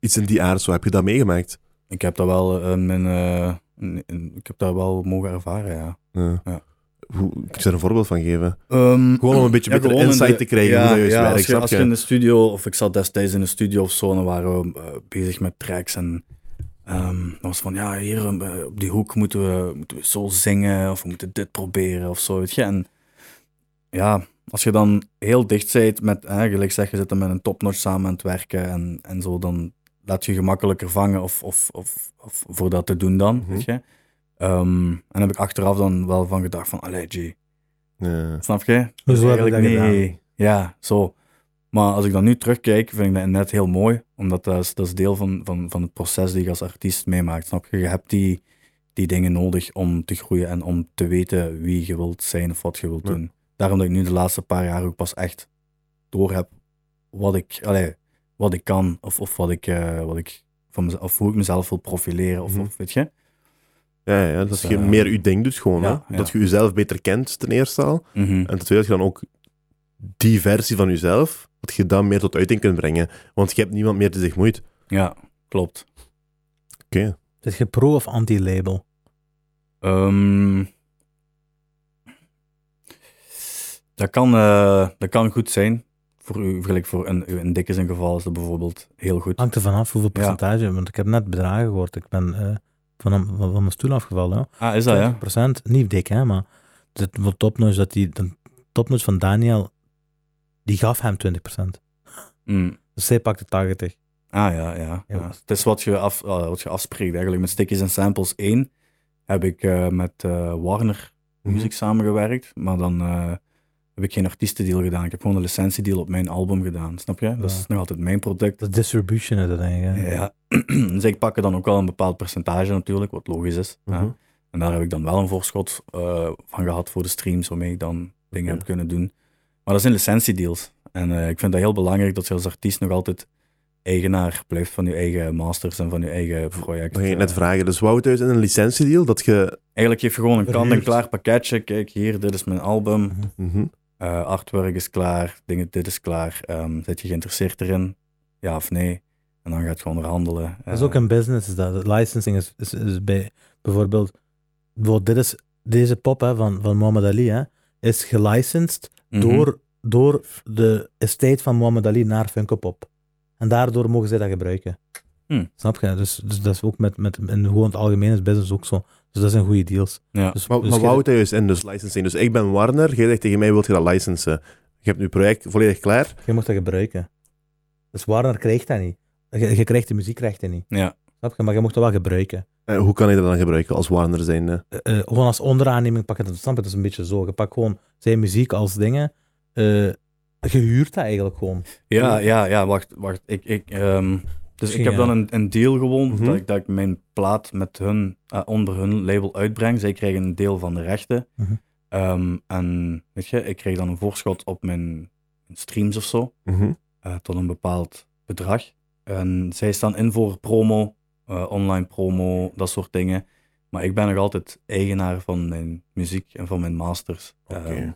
iets in die aard, zo heb je dat meegemaakt?
Ik heb dat wel, eh, mijn, eh, n- n- ik heb dat wel mogen ervaren, ja.
Ja.
Ja.
Eh, Hoe, kun je er een voorbeeld van geven?
Ehm,
Gewoon om een beetje beter
gewoon in
insight
de-
te krijgen hoe dat juist werkt,
Als je,
snap
als
je?
je in de studio, of ik zat destijds in de studio of zo, en dan waren we eh, bezig met tracks en ehm dan was van, ja, hier eh, op die hoek moeten we, moeten we zo zingen, of we moeten dit proberen, of zo, weet je. En ja, als je dan heel dicht zit met, eh, gelijk zeg, je zit dan met een topnotch samen aan het werken en, en zo, dan laat je je gemakkelijker vangen of, of, of, of voor dat te doen dan,
Mhm.
weet je. Ehm, en daar heb ik achteraf dan wel van gedacht van, allee, G,
Ja.
snap je?
Dus zo heb ik dat
Eigenlijk
gedaan.
niet. Ja, zo. Maar als ik dan nu terugkijk, vind ik dat net heel mooi. Omdat dat is, dat is deel van, van, van het proces die je als artiest meemaakt. Snap je? Je hebt die, die dingen nodig om te groeien en om te weten wie je wilt zijn of wat je wilt
Ja.
doen. Daarom dat ik nu de laatste paar jaar ook pas echt door heb wat ik, allee, wat ik kan of, of wat ik, eh, wat ik van mezelf, of hoe ik mezelf wil profileren. Of,
Mhm.
of weet je?
Ja, ja, dat
Dus,
je
eh,
meer je ding doet gewoon.
ja,
hè?
ja.
Dat je jezelf beter kent, ten eerste al. En ten tweede, dat je dan ook die versie van jezelf, dat je dan meer tot uiting kunt brengen. Want je hebt niemand meer die zich moeit.
Ja, klopt.
Oké.
Zit je pro of anti-label?
Ehm, Dat kan, eh, dat kan goed zijn. Voor u, gelijk voor een, een dikke zijn geval is dat bijvoorbeeld heel goed.
Hangt er vanaf hoeveel percentage, want ik heb net bedragen gehoord. Ik ben eh, van, van, van mijn stoel afgevallen. hè.
Ah, is dat ja?
20%, niet dik hè, maar het wat topnotch dat die, de topnotch van Daniel, die gaf hem 20%.
Mm.
Dus zij pakte 80.
Ah ja, ja.
Ja.
ja. Het is wat je, af, ah, wat je afspreekt eigenlijk. Met Stickies en Samples 1 heb ik eh, met eh, Warner
Mhm.
Music samengewerkt, maar dan eh, heb ik geen artiestendeal gedaan. Ik heb gewoon een licentiedeal op mijn album gedaan, snap je? Dat
Ja.
is nog altijd mijn product.
Dat is distribution is dat eigenlijk. hè.
Ja. dus ik pak er dan ook wel een bepaald percentage natuurlijk, wat logisch is. hè.
Mhm.
En daar heb ik dan wel een voorschot eh, van gehad voor de streams, waarmee ik dan dingen
Oké.
heb kunnen doen. Maar dat zijn licentiedeals. En eh, ik vind dat heel belangrijk dat je als artiest nog altijd eigenaar blijft van je eigen masters en van je eigen project.
Dan ging ik net
Eh,
vragen. Dus wou het uit in een licentiedeal dat je...
Eigenlijk geef je gewoon een
Verhuurd.
kant-en-klaar pakketje. Kijk, hier, dit is mijn album.
Mhm.
Mhm.
Eh, artwork is klaar, dingen, dit is klaar. Ehm zit je geïnteresseerd erin? Ja of nee? En dan gaat je onderhandelen. Eh,
Dat is ook een business, is dat. Licensing is, is, is bij, bijvoorbeeld, bijvoorbeeld dit is, deze pop hè, van, van Muhammad Ali hè, is gelicensed
Mhm.
door, door de estate van Muhammad Ali naar Funko Pop. En daardoor mogen zij dat gebruiken.
Hm.
Snap je? Dus, dus dat is ook met, met en gewoon het algemene business ook zo. Dus dat zijn goede deals.
Ja.
Dus,
Maar,
dus
maar
je-
wou het juist in, dus licensing. Dus ik ben Warner, jij zegt tegen mij, wilt je dat licensen? Je hebt nu project volledig klaar.
je mag dat gebruiken. Dus Warner krijgt dat niet. Je, je krijgt de muziekrechten niet.
Ja.
Snap je? Maar je mag dat wel gebruiken.
Eh, hoe kan ik dat dan gebruiken als Warner zijn? eh?
eh, eh, gewoon als onderaanneming pakken. Dat snap je? Dat is een beetje zo. Je pakt gewoon zijn muziek als dingen. eh je huurt dat eigenlijk gewoon.
Ja, ja, ja, wacht, wacht. Ik, ik, ehm, dus
Misschien,
ik heb
ja.
dan een, een deal gewoon,
Mhm.
dat, ik, dat ik mijn plaat met hun, eh, onder hun label uitbreng. Zij krijgen een deel van de rechten.
Mhm.
Ehm, en weet je, ik kreeg dan een voorschot op mijn streams of zo,
Mhm.
eh, tot een bepaald bedrag. En zij staan in voor promo, eh, online promo, dat soort dingen. Maar ik ben nog altijd eigenaar van mijn muziek en van mijn masters.
Oké.
Ehm,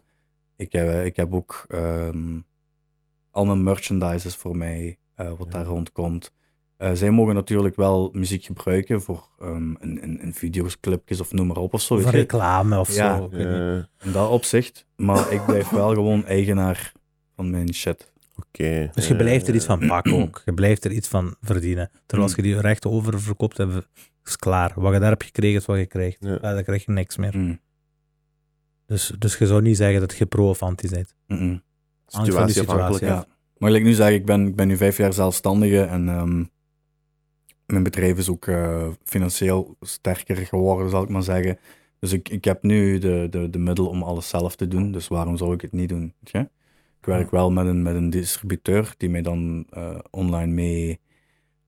ik, heb, ik heb ook ehm, al mijn merchandise is voor mij, eh, wat daar rondkomt. Eh, zij mogen natuurlijk wel muziek gebruiken voor ehm in, in, in video's, clipjes of noem maar op of zo. weet
Voor
je.
reclame of
Ja,
zo. ik weet niet.
Eh,
In dat opzicht. Maar ik blijf wel gewoon eigenaar van mijn shit.
Oké.
Dus je
Eh,
blijft er iets van pakken ook. Je blijft er iets van verdienen. Terwijl als je die rechten oververkoopt hebt, is klaar. Wat je daar hebt gekregen, is wat je krijgt.
Ja.
Verder krijg je niks meer.
Mm,
Dus, dus je zou niet zeggen dat je pro of anti bent.
mm, mm.
Eh,
Hangt van die
Situatieafhankelijk,
situatie af.
Ja. Maar gelijk nu zeg, ik ben, ik ben nu vijf jaar zelfstandige en ehm, mijn bedrijf is ook eh, financieel sterker geworden, zal ik maar zeggen. Dus ik, ik heb nu de, de, de middel om alles zelf te doen, dus waarom zou ik het niet doen? weet je? Ik werk wel met een, met een distributeur die mij dan eh, online mee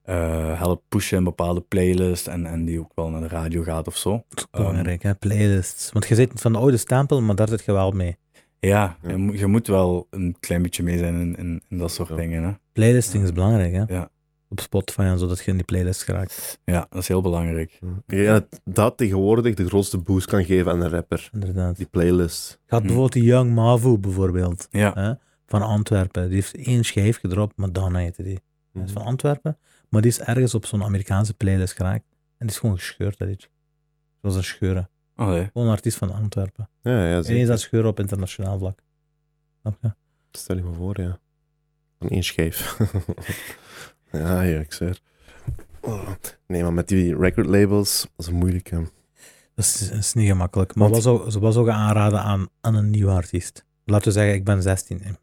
eh, helpt pushen in bepaalde playlists en, en die ook wel naar de radio gaat of zo. Ehm,
Dat is ook belangrijk, hè? playlists. Want je zit van de oude stempel, maar daar zit je wel mee.
Ja,
Ja.
Je, moet- je moet wel een klein beetje mee zijn in, in, in dat soort
Ja.
dingen. Hè?
Playlisting is belangrijk, hè?
Ja.
Op Spotify en zo, dat je in die playlist geraakt.
Ja, dat is heel belangrijk.
Ik denk dat dat tegenwoordig de grootste boost kan geven aan een rapper.
Inderdaad.
Die playlist.
Gaat
Hm.
bijvoorbeeld die Young Mavu bijvoorbeeld,
Ja.
hè, van Antwerpen. Die heeft één schijf gedropt, Madonna heette die. Hij is van
Mhm.
Antwerpen, maar die is ergens op zo'n Amerikaanse playlist geraakt. En die is gewoon gescheurd, dat liedje. Dat was een scheuren.
Allee.
Gewoon een artiest van Antwerpen.
Ja, ja
En eens
zeker.
dat scheuren op internationaal vlak. Snap je?
Stel je me voor, ja. Van één schijf. ja, ja, ik zweer. Oh. Nee, maar met die record labels, dat is moeilijk. hè.
Dat is, is niet gemakkelijk. Maar
Want-
was ook, ze was ook aanraden aan, aan een nieuwe artiest. Laten we zeggen, ik ben 16. Ik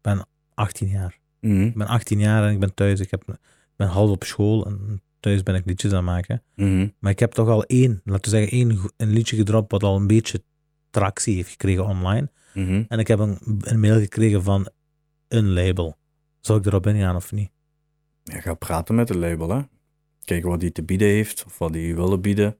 ben 18 jaar.
Mhm.
Ik ben 18 jaar en ik ben thuis. Ik, heb, ik ben half op school en thuis ben ik liedjes aan het maken.
Mhm.
Maar ik heb toch al één, laten we zeggen, één go- een liedje gedropt wat al een beetje tractie heeft gekregen online.
Mhm.
En ik heb een, een mail gekregen van een label. Zou ik erop ingaan of niet?
Ja, ga praten met het label, hè. Kijken wat die te bieden heeft, of wat die willen bieden.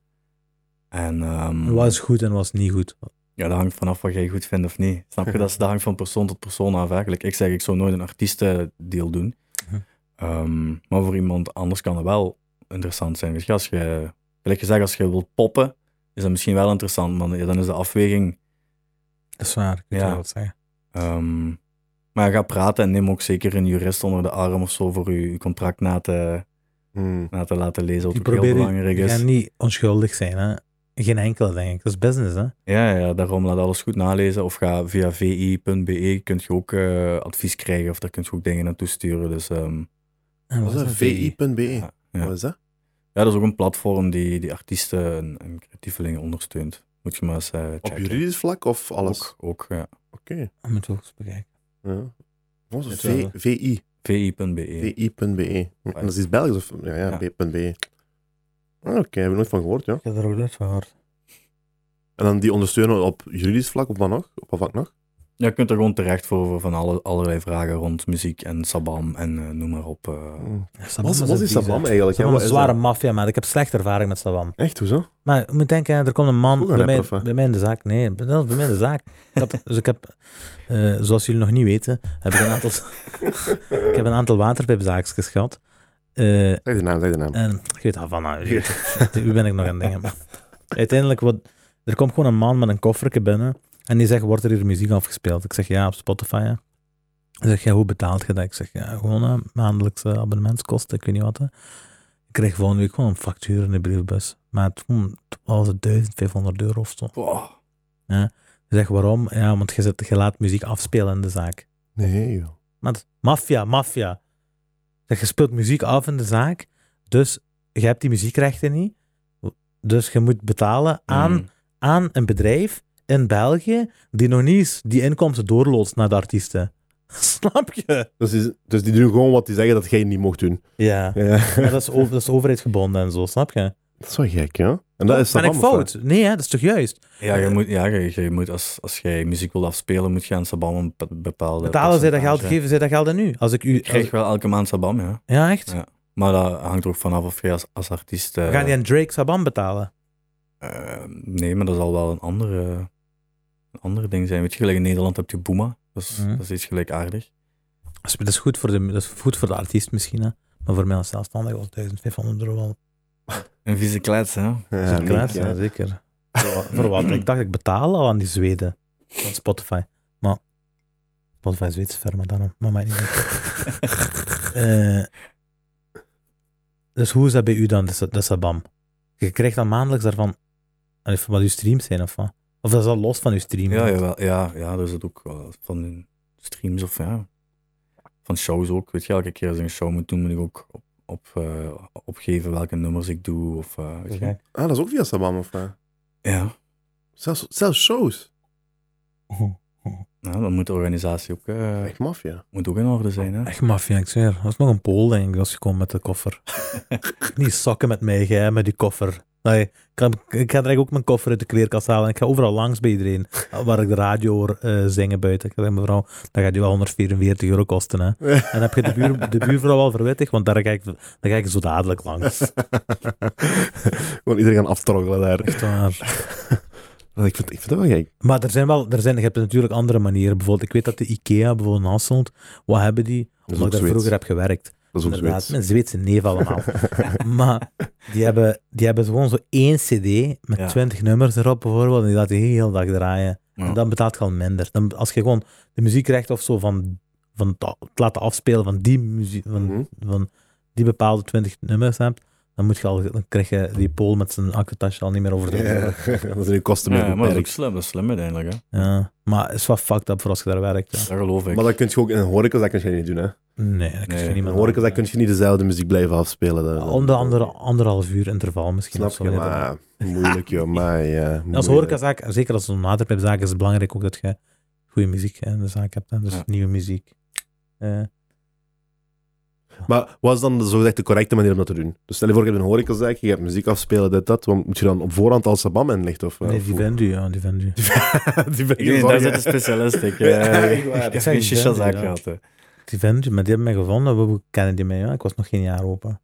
En ehm,
Wat is goed en wat is niet goed?
ja, dat hangt vanaf wat jij goed vindt of niet. Snap je? Dat, is- dat hangt van persoon tot persoon af eigenlijk. Ik zeg, ik zou nooit een artiestendeal doen.
Mhm.
Ehm, maar voor iemand anders kan het wel interessant zijn. Weet je, als je, gelijk gezegd, als je wilt poppen, is dat misschien wel interessant, maar dan is de afweging...
Dat is waar, ik weet
Ja.
wel wat zeggen.
ehm, maar ga praten en neem ook zeker een jurist onder de arm of zo voor je je contract na te,
Hmm.
na te laten lezen, wat
Die
ook heel
proberen-
belangrijk
Je
is.
gaat niet onschuldig zijn, hè? Geen enkele, denk ik. Dat is business, hè?
Ja, ja, daarom laat alles goed nalezen. Of ga via vi.be, kun je ook eh, advies krijgen of daar kun je ook dingen naartoe sturen. Dus ehm,
En
Wat is dat? vi.be.
ja, ja.
Wat is dat?
Ja, dat is ook een platform die, die artiesten en, en creatievelingen ondersteunt. Moet je maar eens eh,
Op
checken.
juridisch vlak of alles?
Ook, ook ja.
Oké.
Dat moeten we ook eens bekijken.
Ja. Volgens
Het
V-
wel.
VI.
vi.be.
VI.be. E. En dat is iets Belgisch of... Ja, ja,
Ja.
B.be. E. Ah, Oké, heb ik nooit van gehoord, ja.
Ik heb er ook net van gehoord.
En dan die ondersteunen op juridisch vlak, op wat nog? Op wat vlak nog?
Ja, je kunt er gewoon terecht voor, voor van alle, allerlei vragen rond muziek en sabam en eh, noem maar op. eh.
Hmm. Wat, wat is Sabam eigenlijk?
Sabam
ja? Wat
is een
is
zware
dat?
maffia, maar ik heb slechte ervaring met Sabam.
Echt, hoezo?
Maar je moet denken, er komt een man
Ook een
bij mij,
rapper, of wat?
bij mij in de zaak. Nee, bij dat is bij mij in de zaak. Ik had- dus ik heb, eh, zoals jullie nog niet weten, heb ik een aantal, ik heb een aantal waterpijpzaakjes gehad. Eh,
Zeg de naam, zeg de naam.
en ik weet dat van, nou, je weet- u ben ik nog aan het dingen. Uiteindelijk, wat, er komt gewoon een man met een koffertje binnen en die zegt, wordt er hier muziek afgespeeld? Ik zeg, ja, op Spotify, ja. Hij zegt, ja, hoe betaalt je dat? Ik zeg, ja, gewoon eh, maandelijkse abonnementskosten, ik weet niet wat. hè. Ik kreeg volgende week gewoon een factuur in de briefbus. Maar het, hmm, het was 1500 euro of zo.
Wow.
Ik zeg, waarom? Ja, want je, zet, je laat muziek afspelen in de zaak.
Nee, joh.
Maar het- maffia, maffia. Ik Zeg, je speelt muziek af in de zaak, dus je hebt die muziekrechten niet. Dus je moet betalen aan,
Mm.
aan een bedrijf in België die nog niet eens die inkomsten doorloodst naar de artiesten. Snap je?
Dus, is, dus die doen gewoon wat die zeggen dat jij niet mocht doen.
Ja.
Ja.
Maar dat, is over, dat is overheidsgebonden en zo, snap je?
Dat is wel gek, ja. En dat is
ben ik
Sabam, of wat?
fout? Nee, hè? dat is toch juist?
Ja, je moet, ja je, je moet als, als jij muziek wil afspelen, moet je aan sabam een be- bepaalde.
Betalen zij dat geld,
percentage.
geven zij dat geld aan nu? Als ik u...
Je krijgt
als-
wel elke maand sabam, ja.
ja, echt?
Ja. Maar dat hangt er ook vanaf of jij als, als artiest. eh,
We gaan die aan Drake Saban betalen.
eh, nee, maar dat zal wel een andere, een andere ding zijn. Weet je, gelijk in Nederland heb je Boema. Dat is,
Mhm.
dat is iets gelijkaardig.
Dat is- Dat is goed voor de, dat is goed voor de artiest misschien, hè? maar voor mij als zelfstandig was 1500 euro wel
Een vieze klets, hè? Dus
Ja,
Zeker,
nee,
ja,
ja.
zeker. Voor wa- Voor wat? Ik dacht, ik betaal al aan die Zweden. Van Spotify. Maar Spotify is een Zweedse firma, daarom. Maar mij niet. uit. Eh, dus hoe is dat bij u dan, de, sa- de Sabam? Je krijgt dan maandelijks daarvan... Allee, van wat uw streams zijn, of wat? Of dat is al los van uw stream?
Ja, jawel, ja, ja, dus het ook wel van streams of ja. Van shows ook. Weet je, elke keer als ik een show moet doen, moet ik ook op, op, eh, opgeven welke nummers ik doe. Of, eh, weet je.
Ah, dat is ook via Sabam, of wat?
Ja.
Zelfs, zelfs shows.
ja, dan moet de organisatie ook, eh,
Echt maffia.
moet ook in orde zijn. Hè?
Echt maffia, ik zweer. Dat is nog een Pool, denk ik, als je komt met de koffer. Niet sokken met mij, jij, met die koffer. Nee, ik, ga, ik ga direct ook mijn koffer uit de kleerkast halen. Ik ga overal langs bij iedereen. Waar ik de radio hoor eh, zingen buiten. Ik zeg, mevrouw, dat gaat je wel 144 euro kosten, hè. En dan heb je de, buur, de buurvrouw al verwittigd, want daar ga, ik, daar ga ik zo dadelijk langs.
Gewoon iedereen gaan aftroggelen daar.
Echt waar.
Ik vind, ik vind dat wel gek.
Maar er zijn wel, er zijn, je hebt natuurlijk andere manieren. Bijvoorbeeld, ik weet dat de IKEA bijvoorbeeld in Hasselt, wat hebben die?
Dat is
Omdat
ook
ik daar
Zweeds.
vroeger heb gewerkt.
Dat is ook
Inderdaad,
Zweeds.
mijn Zweedse neef allemaal. maar die hebben, die hebben gewoon zo één cd met
Ja.
20 nummers erop bijvoorbeeld, en die laat je heel de dag draaien.
Ja.
En dan betaalt je al minder. Dan, als je gewoon de muziekrecht of zo van, van het a- het laten afspelen van die, muziek, van,
Mhm.
van die bepaalde 20 nummers hebt, dan, moet je al, dan krijg je die Pool met zijn akketasje al niet meer over de
Ja, dat zijn je kosten meer
Ja, maar dat is ook
beperkt.
slim, dat is slim uiteindelijk. Hè?
Ja. Maar het is wel fucked up voor als je daar werkt. hè.
Dat geloof ik.
Maar dat kun je ook in een horeca, dat kun je niet doen, hè.
Nee, dat kun je
Nee,
In
niet
een
meer
horeca,
doen.
dat kun je niet dezelfde muziek blijven afspelen. Dat- dat-
Om de andere, anderhalf uur interval misschien.
Snap
of zo,
je,
nee, dat-
maar moeilijk, joh. Maar ja,
En als
moeilijk.
horecazaak, zeker als zo'n waterpijpzaak, is het belangrijk ook dat je goede muziek hè, in de zaak hebt. Hè? Dus
Ja.
nieuwe muziek. Eh,
Maar wat is dan de, zogezegd de correcte manier om dat te doen? Dus stel je voor, je hebt een horecazaak, je gaat muziek afspelen, dit, dat. Want moet je dan op voorhand al Sabam inlichten? Of,
nee,
of
die
hoe?
Vendu, ja, die Vendu.
die ben je
Nee,
zorgen.
daar zit een specialist. Ik, eh,
Ja, echt waar.
ik heb
Zeg,
geen shisha-zaak
ja.
gehad. hè.
Die Vendu, maar die hebben mij gevonden. We- We kennen die mij, ja. Ik was nog geen jaar open.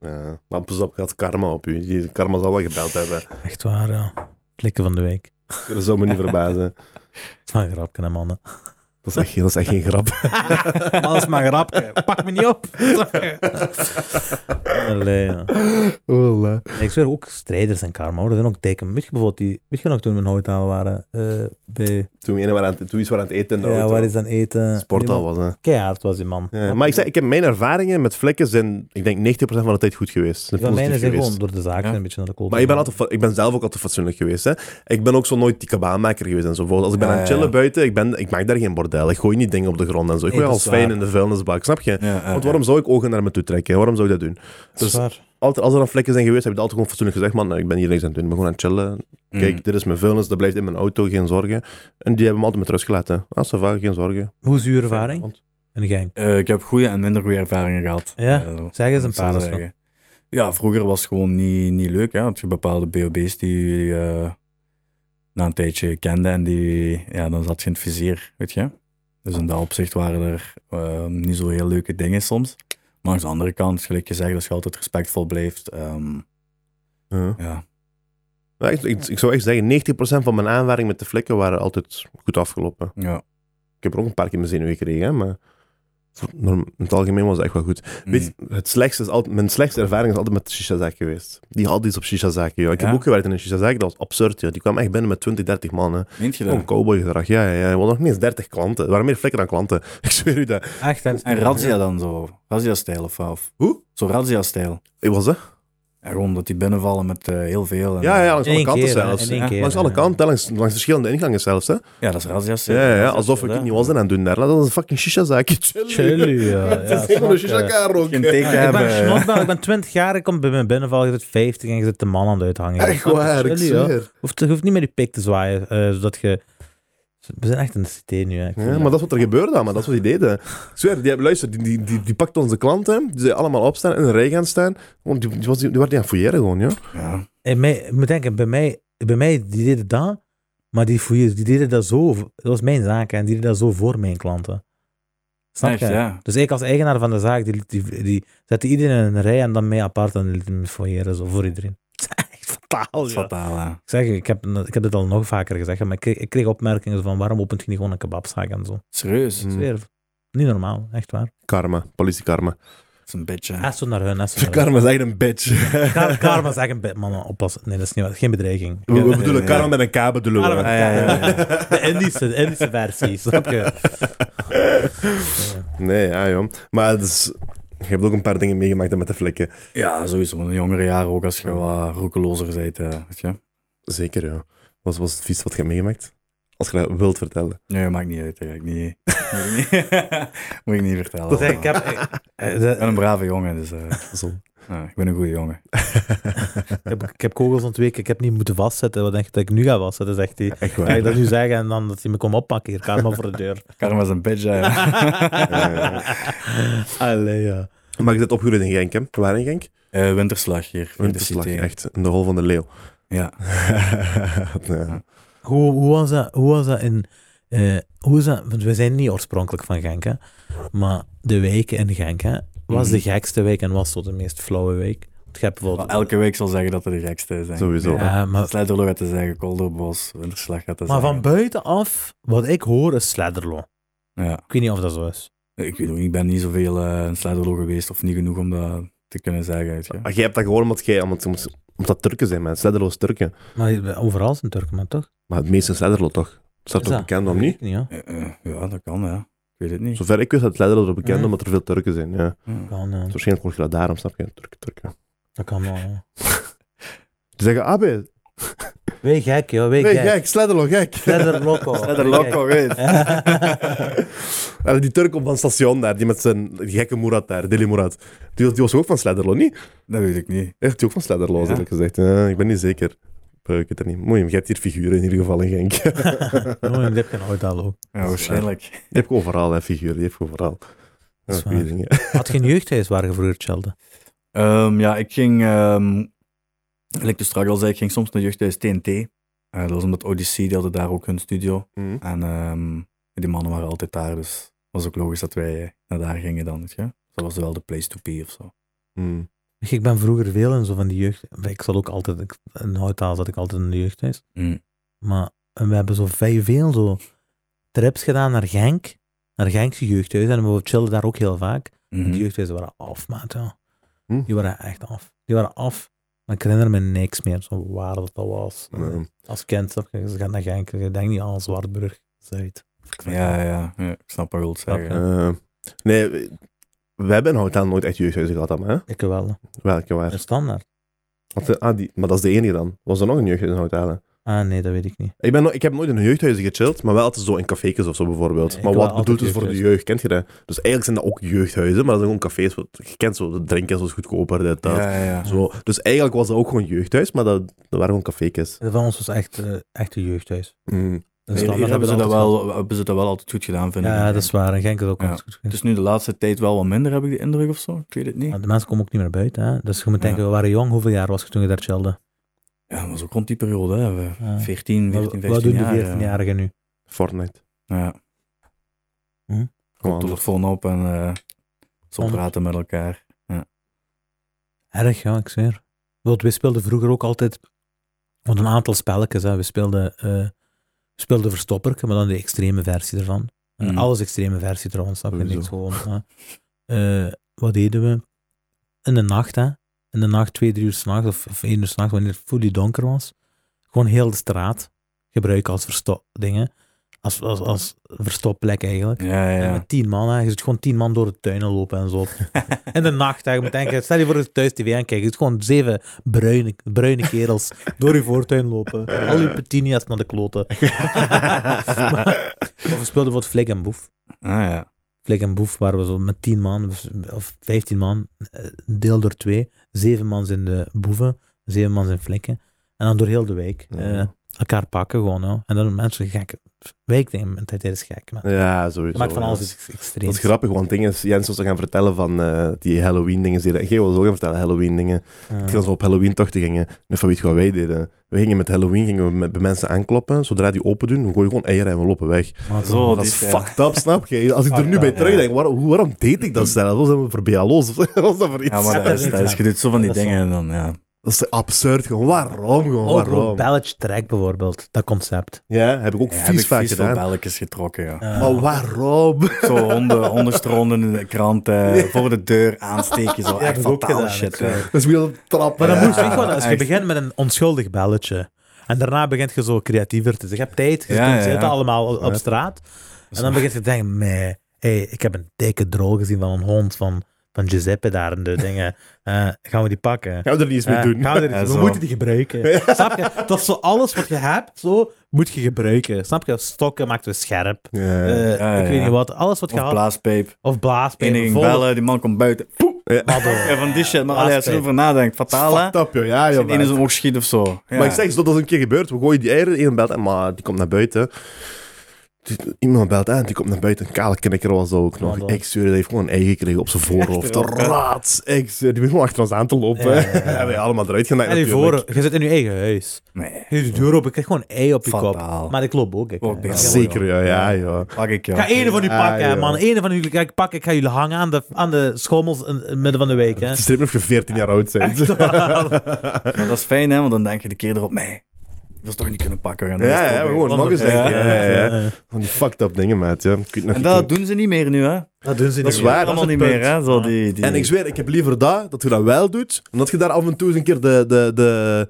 Ja, maar pas op, gaat karma op u. Die karma zal wel gebeld hebben.
Echt waar, ja. Klikken van de week.
Dat zou me niet verbazen.
Het is maar een grapje, hè, mannen.
Dat is echt, dat is echt geen grap.
Alles maar een grapje. Pak me niet op. Allee, ja.
Voilà.
Nee, Ik zweer ook strijders en karma. Hoor. Dat zijn ook dikke. Weet je bijvoorbeeld die... Weet je nog toen we in Houtaal waren? eh, bij
Toen we, ene waren aan, het- toen iets waren aan het eten in de
Ja,
auto.
waar is dan eten?
Sportal
Niemand-
was, hè.
Keihard was die man.
Ja, maar ik, zeg, ik heb mijn ervaringen met vlekken zijn, ik denk 90% van de tijd goed geweest. Zijn
Van mijne
positief
zijn
geweest.
gewoon door de zaak
Ja.
een beetje naar de kool.
Maar ik ben, altijd, fa- ik ben zelf ook altijd fatsoenlijk geweest. Hè. Ik ben ook zo nooit die kabaanmaker geweest en zo. Bijvoorbeeld Als ik ben
Ja,
aan het
ja,
chillen
ja.
buiten, ik, ben, ik maak daar geen bordel. Ik gooi niet dingen op de grond en zo. Ik
Nee,
gooi
dat
alles
is
fijn
waar.
in de vuilnisbak, snap je?
Ja, ja,
Want waarom zou ik ogen naar me toe trekken? Waarom zou ik dat doen? Dus
Zwaar.
altijd, als er dan vlekken zijn geweest, heb ik het altijd gewoon fatsoenlijk gezegd. Man, ik ben hier niks aan het doen. Ik ben gewoon aan het chillen.
ja.
Kijk,
Mm.
dit is mijn vuilnis, dat blijft in mijn auto, geen zorgen. En die hebben me altijd met rust gelaten. Ah, ça va, geen zorgen.
Hoe is uw ervaring? Een gein.
Eh, ik heb goede en minder goede ervaringen gehad.
Ja?
Eh,
Zeg eens een
Dat
paar.
zou
eens van.
zeggen. Ja, vroeger was het gewoon niet, niet leuk. Ja. Had je bepaalde BOB's die je eh, na een tijdje kende en die, ja, dan zat je in het vizier, weet je. Dus in dat opzicht waren er ehm, niet zo heel leuke dingen soms. Maar aan de andere kant, gelijk je zegt, als je altijd respectvol blijft, ehm,
Ja.
ja.
Maar echt, ik, ik zou echt zeggen, 90% van mijn aanvaringen met de vlekken waren altijd goed afgelopen.
ja.
Ik heb er ook een paar keer mijn zenuwen gekregen, hè, maar voor- norm- in het algemeen was het echt wel goed.
Mm.
Weet, je, het slechtste is altijd, mijn slechtste ervaring is altijd met de shisha-zaak geweest. Die had iets op shisha-zaken. joh. Ik
Ja?
heb ook gewerkt in een shisha-zaak, dat was absurd. joh. Die kwam echt binnen met 20, 30 man. Hè.
Mm. Meent je dat?
Gewoon cowboygedrag. Ja, ja, ja. We hadden nog niet eens 30 klanten. Er waren meer flikken dan klanten. Ik zweer u dat.
Echt, hè?
En razzia dan zo? Razzia-stijl of, of?
Hoe?
Zo razzia-stijl.
Ik was hè?
Ja, gewoon dat die binnenvallen met eh, heel veel. En,
Ja, ja, langs
In één
alle kanten
keer, hè,
zelfs.
in één
Ja,
keer,
langs
hè.
alle kanten, langs, langs verschillende ingangen zelfs. Hè?
ja, dat is razzia-stijl.
Ja, ja, ja,
Razzia-stijl,
alsof ik
hè.
het niet was aan het doen daar. Dat is een fucking shisha-zaak. Chill.
Chill, u, ja.
Het
Ja,
is gewoon een
snap je.
shisha-kar ook.
Geen
hè.
teken
Ja, ik, ben,
hebben.
een snotbel, ik ben 20 jaar, ik kom bij mijn binnenval, je zit 50 en je zit de man aan het uithangen.
Echt waar, ik
Chill, joh.
zweer.
Hoeft, je hoeft niet meer je pik te zwaaien, eh, zodat je... We zijn echt in de cité nu, hè. Ik
Ja,
voel
maar
dat.
dat is wat er gebeurde, maar dat is wat die deden. Ik zweer, die, hebben- luister, die, die, die, die pakte onze klanten, die zeiden allemaal opstaan, in de rij gaan staan. Want die, die, was, die, die waren die aan het fouilleren gewoon, joh.
Ja.
Hey, mij, ik moet denken, bij mij, bij mij die deden dat, maar die fouillers, die deden dat zo... Dat was mijn zaak, hè, en die deden dat zo voor mijn klanten. Snap
Echt,
je?
ja.
Dus ik als eigenaar van de zaak, die, liet- die, die zette iedereen in een rij en dan mij apart en liet hem fouilleren, zo, voor iedereen. Echt fataal, joh.
Fataal, hè.
Ik zeg, ik heb, ik heb dit al nog vaker gezegd, maar ik kreeg, ik kreeg opmerkingen van waarom opent je niet gewoon een kebabzaak en zo.
Serieus.
Mm.
Weer, niet normaal, echt waar.
Karma, politiekarma.
Dat is een beetje.
Echt zo naar hun, echt zo naar hun.
Karma is echt een bitch.
Kar- Karma is echt een bed, mannen, oppassen. Nee, dat is niet waar. Geen bedreiging.
We, we
Ja,
bedoelen
ja,
karma
ja.
met een K bedoelen we.
Karma.
Ja, ja, ja, ja.
De Indische, de Indische versie, snap je?
Nee, ja, joh. Maar het is- je hebt ook een paar dingen meegemaakt hè, met de vlekken.
Ja, sowieso. In de jongere jaren ook als je
Mm.
wat roekelozer bent. eh, weet je?
Zeker, joh. Wat was het vies wat je hebt meegemaakt? Als je dat wilt vertellen.
Nee, maakt niet uit. Eigenlijk. Niet, moet, ik niet, moet ik niet vertellen.
Zeg, Dus ik heb... eh,
Ik
de-
ben een brave jongen, dus eh,
Zo.
ja, ik ben een goede jongen.
Ik heb, ik heb kogels ontweken, ik heb niet moeten vastzetten. Wat denk je dat ik nu ga vastzetten, zegt hij.
Echt
Ga ik
waar.
dat nu zeggen en dan dat hij me komt oppakken hier. Karma voor de deur.
Karma is een bitch. hè.
Eh.
Allee, ja.
Maar je zit opgegroeid in Genk, hè? Waar in Genk?
Eh, winterslag hier.
Winterslag,
Winterslag,
echt. In de hol van de leeuw.
Ja.
nee.
Hoe, hoe, was dat, hoe was dat in... eh, hoe is dat, want we zijn niet oorspronkelijk van Genk, hè. Maar de wijken in Genk, hè. Was
Mhm.
de gekste wijk en was tot de meest flauwe wijk? Want je hebt
Wel,
bijvoorbeeld...
Ah,
elke week zal zeggen dat er de gekste zijn.
Sowieso.
Ja.
Ja, maar,
Slijterlo gaat te zeggen, Kolderbos, Winterslag gaat te
Ah. maar van
zeggen.
buitenaf, wat ik hoor, is Sledderlo.
Ja.
Ik weet niet of dat zo is.
Ik weet ook niet, ik ben niet zoveel eh in Slijterlo geweest of niet genoeg om dat te kunnen zeggen. Weet je.
Ah,
Maar jij hebt dat gewoon omdat, jij, omdat, omdat- omdat Turken zijn, man. Sledderloos Turken.
Maar overal zijn Turken, maar toch?
Maar het meeste is Sledderlo toch? Is dat
Is
toch
dat?
bekend om niet?
Ik niet, ja.
Eh, eh, ja, dat kan, ja. Ik weet het niet.
Zover ik wist dat Sledderlo er bekend
Mhm.
omdat er veel Turken zijn. Ja.
Ja.
Kan, eh,
Dus waarschijnlijk hoor je dat daarom, snap je? Turken, Turken.
dat kan wel, ja.
Die zeggen, abe,
Wij gek, joh, wij
nee,
gek.
gek, Sledderlo, gek.
Sledder loco.
Sledder Lokko, weet.
En die Turk op van het station daar, die met zijn die gekke Murat daar, Dili Murat. Die, was- die was ook van Sledderlo, niet?
Dat weet ik niet.
Echt, die ook van Sledderlo,
Ja.
eerlijk gezegd. Ja, ik ben niet zeker. Ik weet het niet. Mooi, je hebt hier figuren in ieder geval in Genk.
Jongen, die heb je nooit al ook.
Ja, waarschijnlijk.
Je hebt gewoon overal, hè, figuren. Je hebt gewoon overal. Ja,
Dat is
goeie
waar.
dingen.
Had geen jeugdhuis waar je vroeger chillde?
Ehm, ja, ik ging, ehm like ik dus straks al zei, ik ging soms naar jeugdhuis TNT. Eh, dat was omdat Odyssey, die hadden daar ook hun studio.
Mhm.
En ehm, die mannen waren altijd daar, dus was ook logisch dat wij eh, naar daar gingen dan. Weet je? Dat was wel de place to be of zo.
Mm.
Ik ben vroeger veel in zo van die jeugd... Ik zat ook altijd... Ik, in Houtaal zat ik altijd in de jeugdhuis.
Mm.
Maar we hebben zo vijf veel zo trips gedaan naar Genk. Naar Genkse jeugdhuis. En we chillden daar ook heel vaak.
Mhm.
Die jeugdhuizen waren af, maat. Ja.
Hm.
Die waren echt af. Die waren af. Maar ik herinner me niks meer zo waar dat, dat was.
Nee.
Als kind, snap je, ze gaan naar Genk. Je denkt niet aan Zwartburg. Zuid.
Ja, ja, ja, ik snap wat je wilt zeggen.
Eh, nee, we- we hebben in Hotel nooit echt jeugdhuizen gehad, dan, hè?
Ik wel.
Welke
Een
waar?
standaard.
Had- ah, die, maar dat is de enige dan. Was er nog een jeugdhuis in Hotel?
Ah, nee, dat weet ik niet.
Ik, ben, nog- ik heb nooit in een jeugdhuis gechilled, maar wel altijd zo in cafékes of zo bijvoorbeeld.
Nee, ik
maar
wil
wat
altijd
bedoeld is voor de
jeugdhuizen.
jeugd, kent je dat? Dus eigenlijk zijn dat ook jeugdhuizen, maar dat zijn gewoon cafés. wat- Je kent zo, de drinken is goedkoper, dit, dat.
Ja, ja, ja.
Zo. Dus eigenlijk was dat ook gewoon jeugdhuis, maar dat, dat waren gewoon cafékes.
Van ons was echt, eh, echt een jeugdhuis.
Mm.
Een
Hier-
standaard
Hier hebben ze, dat
altijd gehad.
wel, hebben ze dat wel altijd goed gedaan, vind ik.
Ja, dat is waar. En Genk is ook
Ja.
altijd goed.
Het is nu de laatste tijd wel wat minder, heb ik de indruk of zo. Ik weet het niet.
Maar de mensen komen ook niet meer buiten. Hè? Dus je moet denken,
Ja.
we waren jong. Hoeveel jaar was je toen je daar chillde?
Ja, dat was ook rond die periode, hè. We-
Ja.
14, 14, 15
Wat doen
jaar.
de
ja.
14-jarigen nu?
Fortnite.
Ja,
Hm?
Gewoon anders.
telefoon op en eh zo
Anders.
praten met elkaar.
Erg, ja, ik zweer. Want we speelden vroeger ook altijd want een aantal spelletjes. Hè. We speelden, eh, we speelden Verstopperke, maar dan de extreme versie ervan. En
Mm.
Alles extreme versie trouwens, dat vind ik
Sowieso.
gewoon. hè. Eh, wat deden we? In de nacht, hè. In de nacht, twee, drie uur s'nachts of, of één uur s'nachts, wanneer het fully donker was. Gewoon heel de straat gebruiken als verstopdingen. Als, als, als verstopplek eigenlijk.
Ja, ja,
En
ja.
Met tien man, hè. je ziet gewoon tien man door de tuinen lopen en zo. In de nacht, hè. je moet denken, stel je voor dat je thuis tv aankijkt, je ziet gewoon zeven bruine, bruine kerels door je voortuin lopen. Al je petinia's naar de kloten. Maar- of we speelden wat Flik en Boef.
Ah, ja.
Flik en Boef waren we zo met tien man, of- of vijftien man, eh, deel door twee. Zeven man zijn de boeven, zeven man zijn flikken. En dan door heel de wijk. eh,
Ja.
elkaar pakken gewoon. hè. En dan mensen gek. Wijkmentaliteit is gek, maar
Ja, sowieso.
dat maakt van
ja.
alles iets extreem.
Dat is grappig, want dingen is, Jens was er gaan vertellen van eh, die Halloween-dingen. Jij was ook gaan vertellen, Halloween-dingen.
Ja.
Toen we op Halloween-tochten gingen, en van weet je wat wij deden? We gingen met Halloween gingen we met, bij mensen aankloppen. Zodra die open doen, we gooien gewoon eieren en we lopen weg.
Maar
Zo,
toch.
dat
dit,
is
ja.
fucked up, snap je? Als ik er
Fucked
nu bij
up,
terugdenk, waarom, hoe- waarom deed ik dat zelf? Wat zijn we voor BLO's? Of wat was dat voor iets?
ja, maar dat is, dat is, je doet zo van die
Dat is
dingen en dan, ja.
Dat is absurd, gewoon. Waarom, gewoon,
Oh,
Ook gewoon
waarom?
Ballage Track bijvoorbeeld, dat concept.
Ja, heb ik ook
Ja, heb
vies
ik
vaak
vies veel
gedaan.
belletjes getrokken, ja.
Eh,
Maar waarom?
Zo honden, honden stronden in de krant, eh, voor de deur aansteken, zo.
Ja,
echt
dat heb ik ook
fatale
gedaan,
shit,
ik, eh.
hè.
Dat is weer een trap.
maar dan
ja.
moet je gewoon, als je
echt.
begint met een onschuldig belletje en daarna begint je zo creatiever te zijn. Je hebt tijd, je
Ja,
kunt
ja,
zitten
ja.
allemaal op
Ja.
straat. En dan begint je te denken, nee, hey, ik heb een dikke drol gezien van een hond van, van Giuseppe daar en de dingen. Eh, gaan we die pakken?
Gaan we er niets
Eh,
mee doen.
gaan we, er
Ja,
iets- we
zo.
moeten die gebruiken. Snap je? Dat is zo alles wat je hebt, zo moet je gebruiken. Snap je? Stokken maakt we scherp.
Ja.
Eh,
Ja,
ik
ja,
weet
ja.
niet wat. Alles wat je
Of
had.
blaaspeep.
of blaaspijpen.
Eén ging
volle
bellen, die man komt buiten. Poep.
babbel.
Ja, van die shit. Maar allee, als je
Blaaspeep.
erover nadenkt, fataal, hè.
Fucked up, joh. Ja, joh.
Als je in
maar-
zijn oog schiet of zo. Ja.
Maar ik zeg, dat is een keer gebeurd. We gooien die eieren, één belt en maar die komt naar buiten. Die- Iemand belt aan, die komt naar buiten. Een kale knikker was dat ook nog.
Wat dan?
Ik zweer, die heeft gewoon een ei gekregen op zijn voorhoofd.
Echt, ja.
Raats! Ik zweer, die was gewoon achter ons aan te lopen. Ja,
Ja, ja, ja.
Hebben we allemaal eruit genakt
En je
natuurlijk.
voor, je zit in je eigen huis.
Nee,
Je doet de deur open, ik krijg gewoon een ei op je
Fataal.
kop. Maar ik loop ook. Ik, eh,
Ook
ik-
dit.
Zeker, ja, ja, ja.
pak ik
Ik
jou.
ga ene van u
Ja,
pakken, hè,
joh.
man. Ene van jullie ga ik pakken. Ik ga jullie hangen aan de, aan de schommels in in het midden van de week. Hè.
Het is niet of je 14 jaar oud bent.
Maar dat is fijn, hè, want dan denk je de keer erop, nee, dat is toch niet kunnen pakken. We gaan de rest
Ja, ja,
proberen.
gewoon nog eens
Ja,
denken. Ja, ja, ja.
Eh,
Van die fucked up dingen, maat. Ja. Ik weet nog
En
niet
dat doen ze niet meer nu, hè?
Dat doen ze niet
Dat is
meer.
waar.
Dat
Allemaal
het
niet
punt.
meer, hè? Zo die, die...
En ik zweer, ik heb liever dat, dat je dat wel doet, dan dat je daar af en toe eens een keer de, de, de,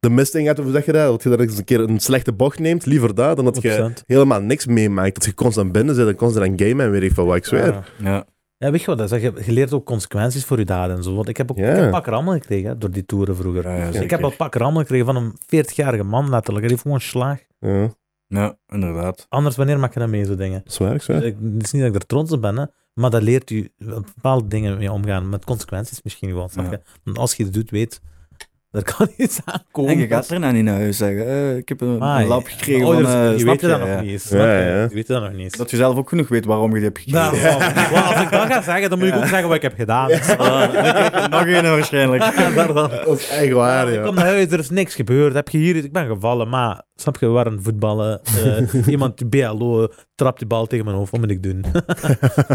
de mist in gaat, of hoe zeg je dat? Dat je daar eens een keer een slechte bocht neemt, liever dat, dan dat je
100%.
helemaal niks meemaakt. Dat je constant binnen zit en constant aan gamen en weet ik veel wat, ik zweer.
Ja.
Ja.
Ja, weet je wat? Dat is, je, je leert ook consequenties voor je daden en zo. Want ik heb ook
Ja.
ik heb pak rammel gekregen hè, door die toeren vroeger. Dus
Ja, ja,
ik
zeker.
heb al pak rammel gekregen van een 40-jarige man letterlijk. Hij heeft gewoon slaag.
Ja,
ja, inderdaad.
Anders, wanneer maak je dat mee, zo dingen?
dat is waar, ik zweer.
Ik- Het is niet dat ik er trots op ben, hè, maar dat leert u bepaalde dingen mee omgaan. Met consequenties misschien gewoon. snap
Ja.
je? Want als je het doet, weet, daar kan iets aankomen.
En je gaat er nou niet naar huis zeggen, eh, ik heb een,
Oh, Ah,
een lap
ja.
gekregen
Oh,
van...
dus
eh,
je weet
snap
dat
je,
nog
ja.
niet eens. snap je?
Ja, ja.
Je weet dat nog niet eens.
Dat je zelf ook genoeg weet waarom je die hebt gekregen.
Nou, want als ik dat ga zeggen, dan moet ik ook zeggen wat ik heb gedaan.
Ah, dan krijg je er nog één waarschijnlijk.
Ja, daarvan.
Dat is echt waar,
Ik
ja.
kom naar huis, er is niks gebeurd. Heb je hier, ik ben gevallen, maar snap je, we waren voetballen. eh, iemand, die BLO, trapt die bal tegen mijn hoofd, wat moet ik doen?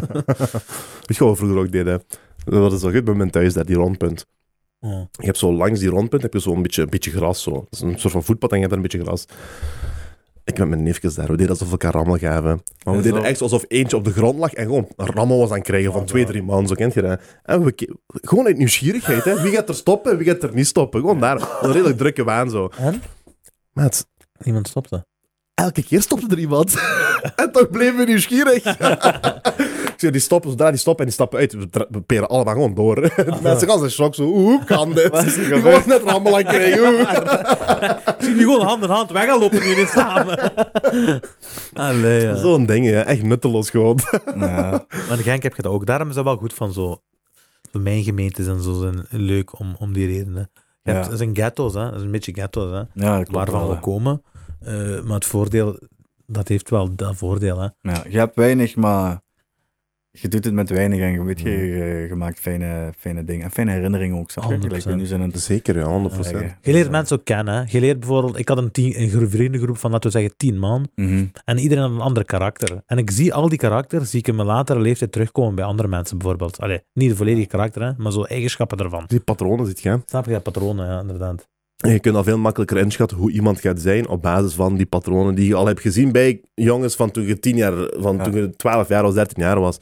Weet je wat we vroeger ook deden? Dat is wel goed bij mijn thuis, daar, die rondpunt.
Oh.
Je hebt zo langs die rondpunt heb je zo een beetje, een beetje gras. Zo. Dat is een soort van voetpad en je hebt daar een beetje gras. Ik met mijn neefjes daar, we deden alsof we elkaar rammel gaven. Maar we
En
deden
Oh, zo. Oh,
echt alsof eentje op de grond lag en gewoon een rammel was aan het krijgen van twee, drie man, zo kent je dat. En we, ke- gewoon uit nieuwsgierigheid, hè. wie gaat er stoppen en wie gaat er niet stoppen. Gewoon daar, een redelijk drukke waan zo.
En?
Maat,
Iemand stopte.
elke keer stopte er iemand. En toch bleven we nieuwsgierig. ik zeg, die stoppen zodra die stoppen en die stappen uit. We dra- We peren allemaal gewoon door. De mensen gaan in shock. Zo, hoe kan dit?
Ah, Wat is
Die
er gebeurd?
gewoon net rammel aan krijgen. hoe?
Ik zie die gewoon hand in hand weg gaan lopen jullie samen. Allee, ja.
Zo'n ding, ja. echt nutteloos gewoon.
Ja.
Maar in Genk heb je dat ook. Daarom is dat wel goed van zo. Zo Mijn gemeentes en zo zijn leuk om, om die redenen. Je hebt,
Ja.
Het zijn ghetto's, hè. Het is een beetje ghetto's, hè.
Ja, dat klopt
Waarvan
wel,
we
ja.
komen. Eh, maar het voordeel, dat heeft wel dat voordeel, hè.
Ja, je hebt weinig, maar je doet het met weinig en je, weet, je,
Mm.
je- je maakt fijne, fijne dingen. En fijne herinneringen ook. Snap je?
100%.
Like, nu zijn het Mhm.
Zeker, ja, 100%.
Je leert mensen ook kennen, hè. Je leert bijvoorbeeld... Ik had een, tien, een gro- vriendengroep van, laten we zeggen, tien man.
Mhm.
En iedereen had een ander karakter. En ik zie al die karakters, zie ik in mijn latere leeftijd terugkomen bij andere mensen, bijvoorbeeld. Allee, niet de volledige karakter, hè, maar zo eigenschappen ervan.
Die patronen zit je. hè.
Snap je dat patronen, ja, inderdaad.
En je kunt al veel makkelijker inschatten hoe iemand gaat zijn op basis van die patronen die je al hebt gezien bij jongens van toen je 10 jaar, van
Ja.
toen je 12 jaar of 13 jaar was.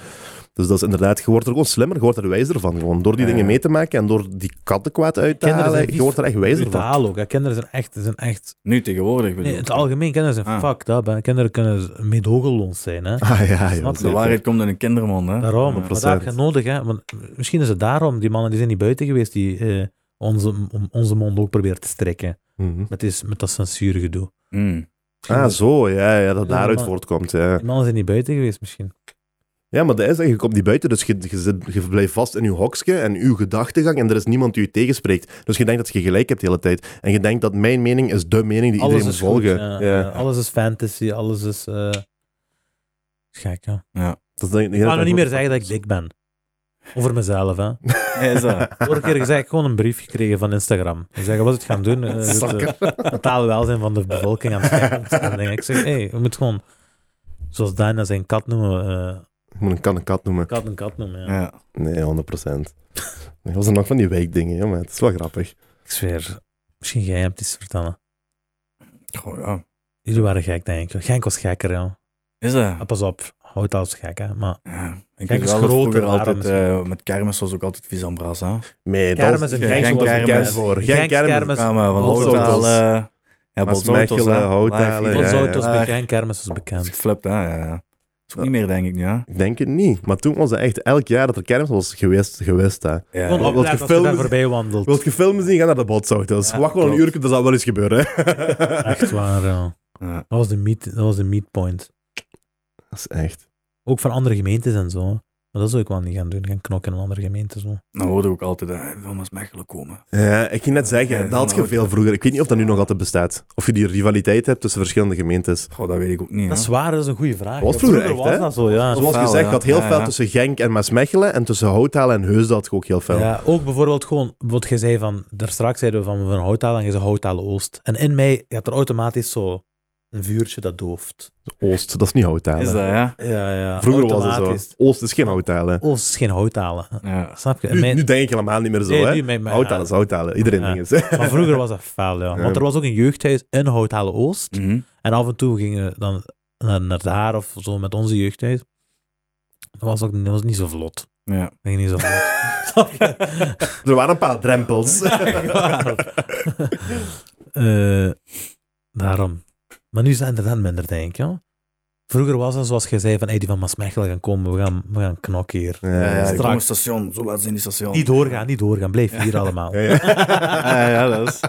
Dus dat is inderdaad, je wordt er gewoon slimmer, je wordt er wijzer van. Gewoon door die
Ja.
dingen mee te maken en door die kattenkwaad uit te
Kinderen zijn
halen,
vies.
je wordt er echt wijzer van.
Brutaal ook, hè. Kinderen zijn echt... Zijn echt
Nu tegenwoordig bedoel
nee, in het
ik.
algemeen, kinderen zijn
Ah.
fucked up, hè. Kinderen kunnen meedogenloos zijn, hè.
Ah ja,
Snap
ja.
je?
De waarheid komt in een kindermond, hè?
Daarom, maar dat heb je
100%.
nodig, hè. Want misschien is het daarom, die mannen die zijn niet buiten geweest, die eh, onze, om- onze mond ook proberen te strekken.
Mhm.
Met, is, met dat censuurgedoe.
Mm.
Ah, zo, ja, ja dat
Ja,
daaruit
maar-
voortkomt. Ja.
Die mannen zijn niet buiten geweest, misschien.
ja, maar dat is echt, je komt niet buiten, dus je, je, zit- je blijft vast in je hokje en uw gedachtegang en er is niemand die je tegenspreekt. Dus je denkt dat je gelijk hebt de hele tijd. En je denkt dat mijn mening is de mening die iedereen moet
goed,
volgen.
ja,
Ja.
ja. alles is fantasy, alles is... eh, Gek, ja.
Dat denk
Ik
ik
ga nog niet meer zeggen dat ik dik ben. Over mezelf, hè.
Is dat?
Vorige keer gezegd, ik gewoon een brief gekregen van Instagram. Ze zeggen, wat is het gaan doen? Eh, het, eh, mentaal welzijn van de bevolking aan het kijken is. En dan denk ik, Ik zeg, hey, we moeten gewoon... Zoals Dana zijn kat noemen, eh,
Ik moet een kat een kat noemen.
kat een kat noemen, ja.
Ja.
Nee, 100 procent. Dat was er nog van die wijkdingen, ja, maar het is wel grappig.
Ik zweer, misschien jij hebt iets te vertellen.
Goh, ja.
Jullie waren gek, denk ik. Genk was gekker, ja.
Is dat?
Ah, Pas op, houd alles gek, hè. Maar
Ja. Ik
Kijk,
denk
is
wel dat
groter,
vroeger
daarom
altijd,
is-
eh, met kermis was ook altijd vies aan bras, hè?
Nee,
Kermis en
dat
Genk
Genk was
kermis.
een kermis voor. Geen
Genks
kermis.
kermis.
Ja, maar van
Botsauto's.
Houthalen. Ja, Botsauto's, hè.
Maasmechelen, Houthalen,
Live.
ja,
Ons
ja.
auto's bij
Live.
Genk kermis is
Dat is
bekend.
geflipt, hè? Ja, ja. Dat is ook niet meer, denk ik nu, hè?
Ik denk het niet. Maar toen was het echt elk jaar dat er kermis was geweest. geweest hè.
Ja.
Gewoon
Wat
opletten als je
gefilmd
daar
is-
voorbij wandelt.
Wilt je filmen zien? Ga naar de botsauto's.
Ja,
Wacht wel een
klopt.
uur, dat zal wel eens gebeuren. Hè?
Echt waar, ja.
Ja.
Dat was de meet, dat was de meetpoint.
Dat is echt.
Ook van andere gemeentes en zo. Maar dat zou ik wel niet gaan doen, gaan knokken in een andere gemeente. Zo.
Dan hoorde ik ook altijd, eh, wil naar Mechelen komen.
Ja, ik ging net zeggen,
Ja,
dat had
van
je
Houten.
veel vroeger. Ik weet niet of dat nu nog altijd bestaat. Of je die rivaliteit hebt tussen verschillende gemeentes.
Goh, dat weet ik ook niet, hè?
Dat is waar, dat is een goede vraag.
Was vroeger echt,
was
hè?
dat zo, ja.
Zoals
fel,
gezegd,
ja.
dat heel
Ja,
veel
ja.
tussen Genk en Maasmechelen. En tussen Houthalen en Heusden had je ook heel veel.
Ja, ook bijvoorbeeld gewoon, wat jij zei van, daar straks zeiden we van, van Houthalen en je zei Houthalen Oost. En in mij gaat er automatisch zo een vuurtje dat dooft.
Oost, dat is niet Houthalen.
Is dat, ja?
Ja, ja.
Vroeger was het zo. Oost is geen Houthalen.
Oost Oh, is geen Houthalen.
Ja.
Snap je? In
Nu,
mijn-
nu denk ik helemaal niet meer zo,
Nee,
hè?
nu met mij-
Houthalen is houthalen. Iedereen
Ja.
ding is. hè.
Maar vroeger was dat fel, ja. Want er was ook een jeugdhuis in Houthalen Oost.
Mhm.
En af en toe gingen we dan naar, naar daar of zo met onze jeugdhuis. Dat was ook dat was niet zo vlot. Dat
Ja.
ging niet zo vlot. Snap je?
Er waren een paar drempels.
Echt waar. Eh, daarom. Maar nu is dat inderdaad minder, denk ik. Ja. Vroeger was dat zoals je zei, van hey, die van Maasmechelen gaan komen, we gaan, we gaan knokken hier.
Ja,
Ja, ja,
ja,
ik
Straks.
kom op station. Zo laat ze in die station.
Niet doorgaan, niet doorgaan, blijf hier allemaal.
ja, ja.
Ja, ja, dat is,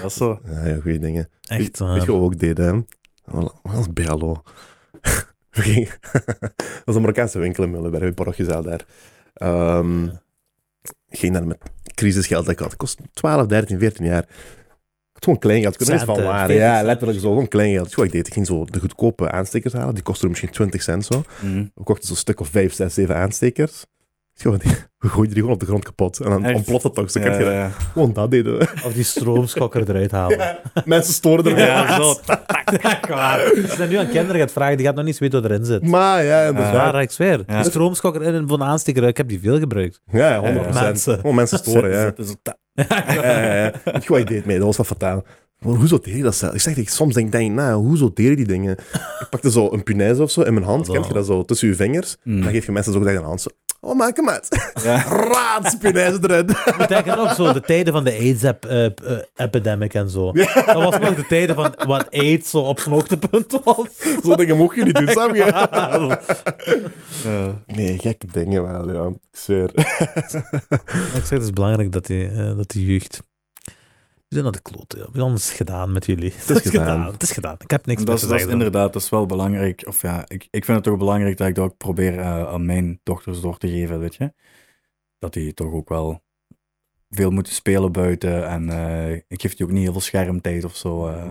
dat is zo.
Ja, ja, goeie dingen.
Echt.
Weet
eh,
je wat we ook deden, hè? Wat was BLO? We gingen... dat was een Marokkaanse winkel in Mullenberg, bij Borgjezaal daar. Ehm, Ik ging daar met crisisgeld dat ik had. Het kost 12, 13, 14 jaar. Ik had gewoon kleingeld. Ik weet niet eens van
Centen,
waar.
14
Ja,
cent.
letterlijk zo. Gewoon kleingeld. Weet je wat ik deed? Ik ging zo de goedkope aanstekers halen. Die kostten misschien 20 cent zo.
Mhm.
We kochten zo'n stuk of vijf, zes, zeven aanstekers. Gewoon, die- we gooiden die gewoon op de grond kapot. En dan
Echt?
ontploft dat toch. Zo kan
Ja,
je dat-
ja, ja.
Gewoon dat deden we.
Of die stroomschokker eruit halen.
Mensen storen er
Ja,
wel
zo.
aan.
Als je dat nu aan kinderen gaat vragen, die gaat nog niet eens weten wat erin zit.
Maar ja,
Ja,
inderdaad.
waar, ik zweer.
Ja.
Die stroomschokker in en van aansteker, ik heb die veel gebruikt.
Ja, ja, 100
Ja, mensen.
Gewoon mensen storen, ja.
Zitten zo ta-
ja, ja, ja. Weet je wat ik deed mee? Dat was wel fataal. Maar hoezo deed je dat zelf? Ik zeg, ik, soms denk denk ik, nou, hoezo deed je die dingen? Ik pakte zo een punaise of zo in mijn hand,
Zo.
kent je dat zo, tussen je vingers.
Mm.
Dan geef je mensen zo ook tegen de hand. Zo, Oh, maak hem uit.
Ja.
Raad, spinijs erin.
Ik denk aan ook zo de tijden van de AIDS-epidemic en zo. Dat was wel de tijden van wat AIDS zo op zijn hoogtepunt was.
Zo dingen mocht je niet doen, snap je?
Eh,
Nee, gekke dingen wel, ja. Ik zweer.
Maar Ik zeg, het is belangrijk dat die, eh, dat die jeugd... We zijn aan de klote. ja. We hebben alles gedaan met jullie. Het
gedaan.
Het is gedaan. Ik heb niks
dat, is,
meer te
dat is
zeggen.
inderdaad, dat is wel belangrijk. Of ja, ik, ik vind het toch belangrijk dat ik dat ook probeer eh, aan mijn dochters door te geven, weet je. Dat die toch ook wel veel moeten spelen buiten. En eh, ik geef die ook niet heel veel schermtijd of zo. eh.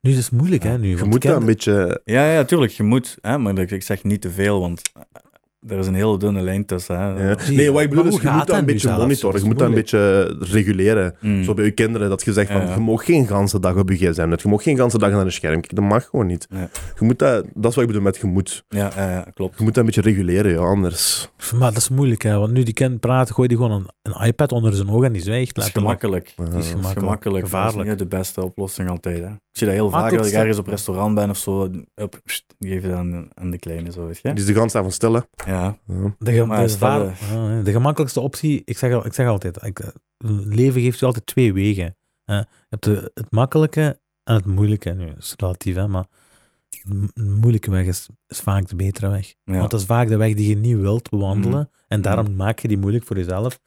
Nu is het moeilijk, hè? Nu,
Je
want
moet dat
kinderen-
een beetje...
Ja, ja, tuurlijk, je moet. Hè, maar ik, ik zeg niet te veel, want eh, er is een hele dunne lijn tussen. Hè.
ja. Nee, wat ik
Maar
bedoel is,
hoe
Ah, je moet
gaat
dat
dat
een
nu
beetje
zelfs?
monitoren. Je
Dat is
moet dat een beetje reguleren.
Mm.
Zo bij je kinderen, dat je zegt van,
Ja, ja.
je mag geen ganse dag op je gsm. net. Je mag geen ganse dag naar een scherm. kijken. Dat mag gewoon niet.
Nee.
Je moet dat... Dat is wat ik bedoel met je moet.
Ja, ja, ja, klopt.
Je moet dat een beetje reguleren, ja. Anders...
Maar dat is moeilijk, hè? Want nu die kind praat, gooi die gewoon een, een iPad onder zijn ogen en die zwijgt.
Dat is
letterlijk.
eh,
gemakkelijk.
Die is
Dat is
gemakkelijk.
gemakkelijk. Dat is
Gevaarlijk.
niet de beste oplossing altijd. Hè. Ik zie dat heel
Maar
vaak dat ik
tot-
ergens op restaurant ben of zo. Up, pst, die geef je dan aan de kleine, zo weet je.
die is Dus de ganse avond stil, hè.
Ja,
Ja.
De, ge-
Maar
de,
stel,
gevaar- Ah, ja, de gemakkelijkste optie, ik zeg, al- ik zeg altijd, ik, eh, leven geeft je altijd twee wegen. hè. Je hebt de- het makkelijke en het moeilijke. Nu, dat is relatief, hè, maar de m- moeilijke weg is, is vaak de betere weg.
Ja.
Want dat is vaak de weg die je niet wilt bewandelen. En daarom maak je die moeilijk voor jezelf.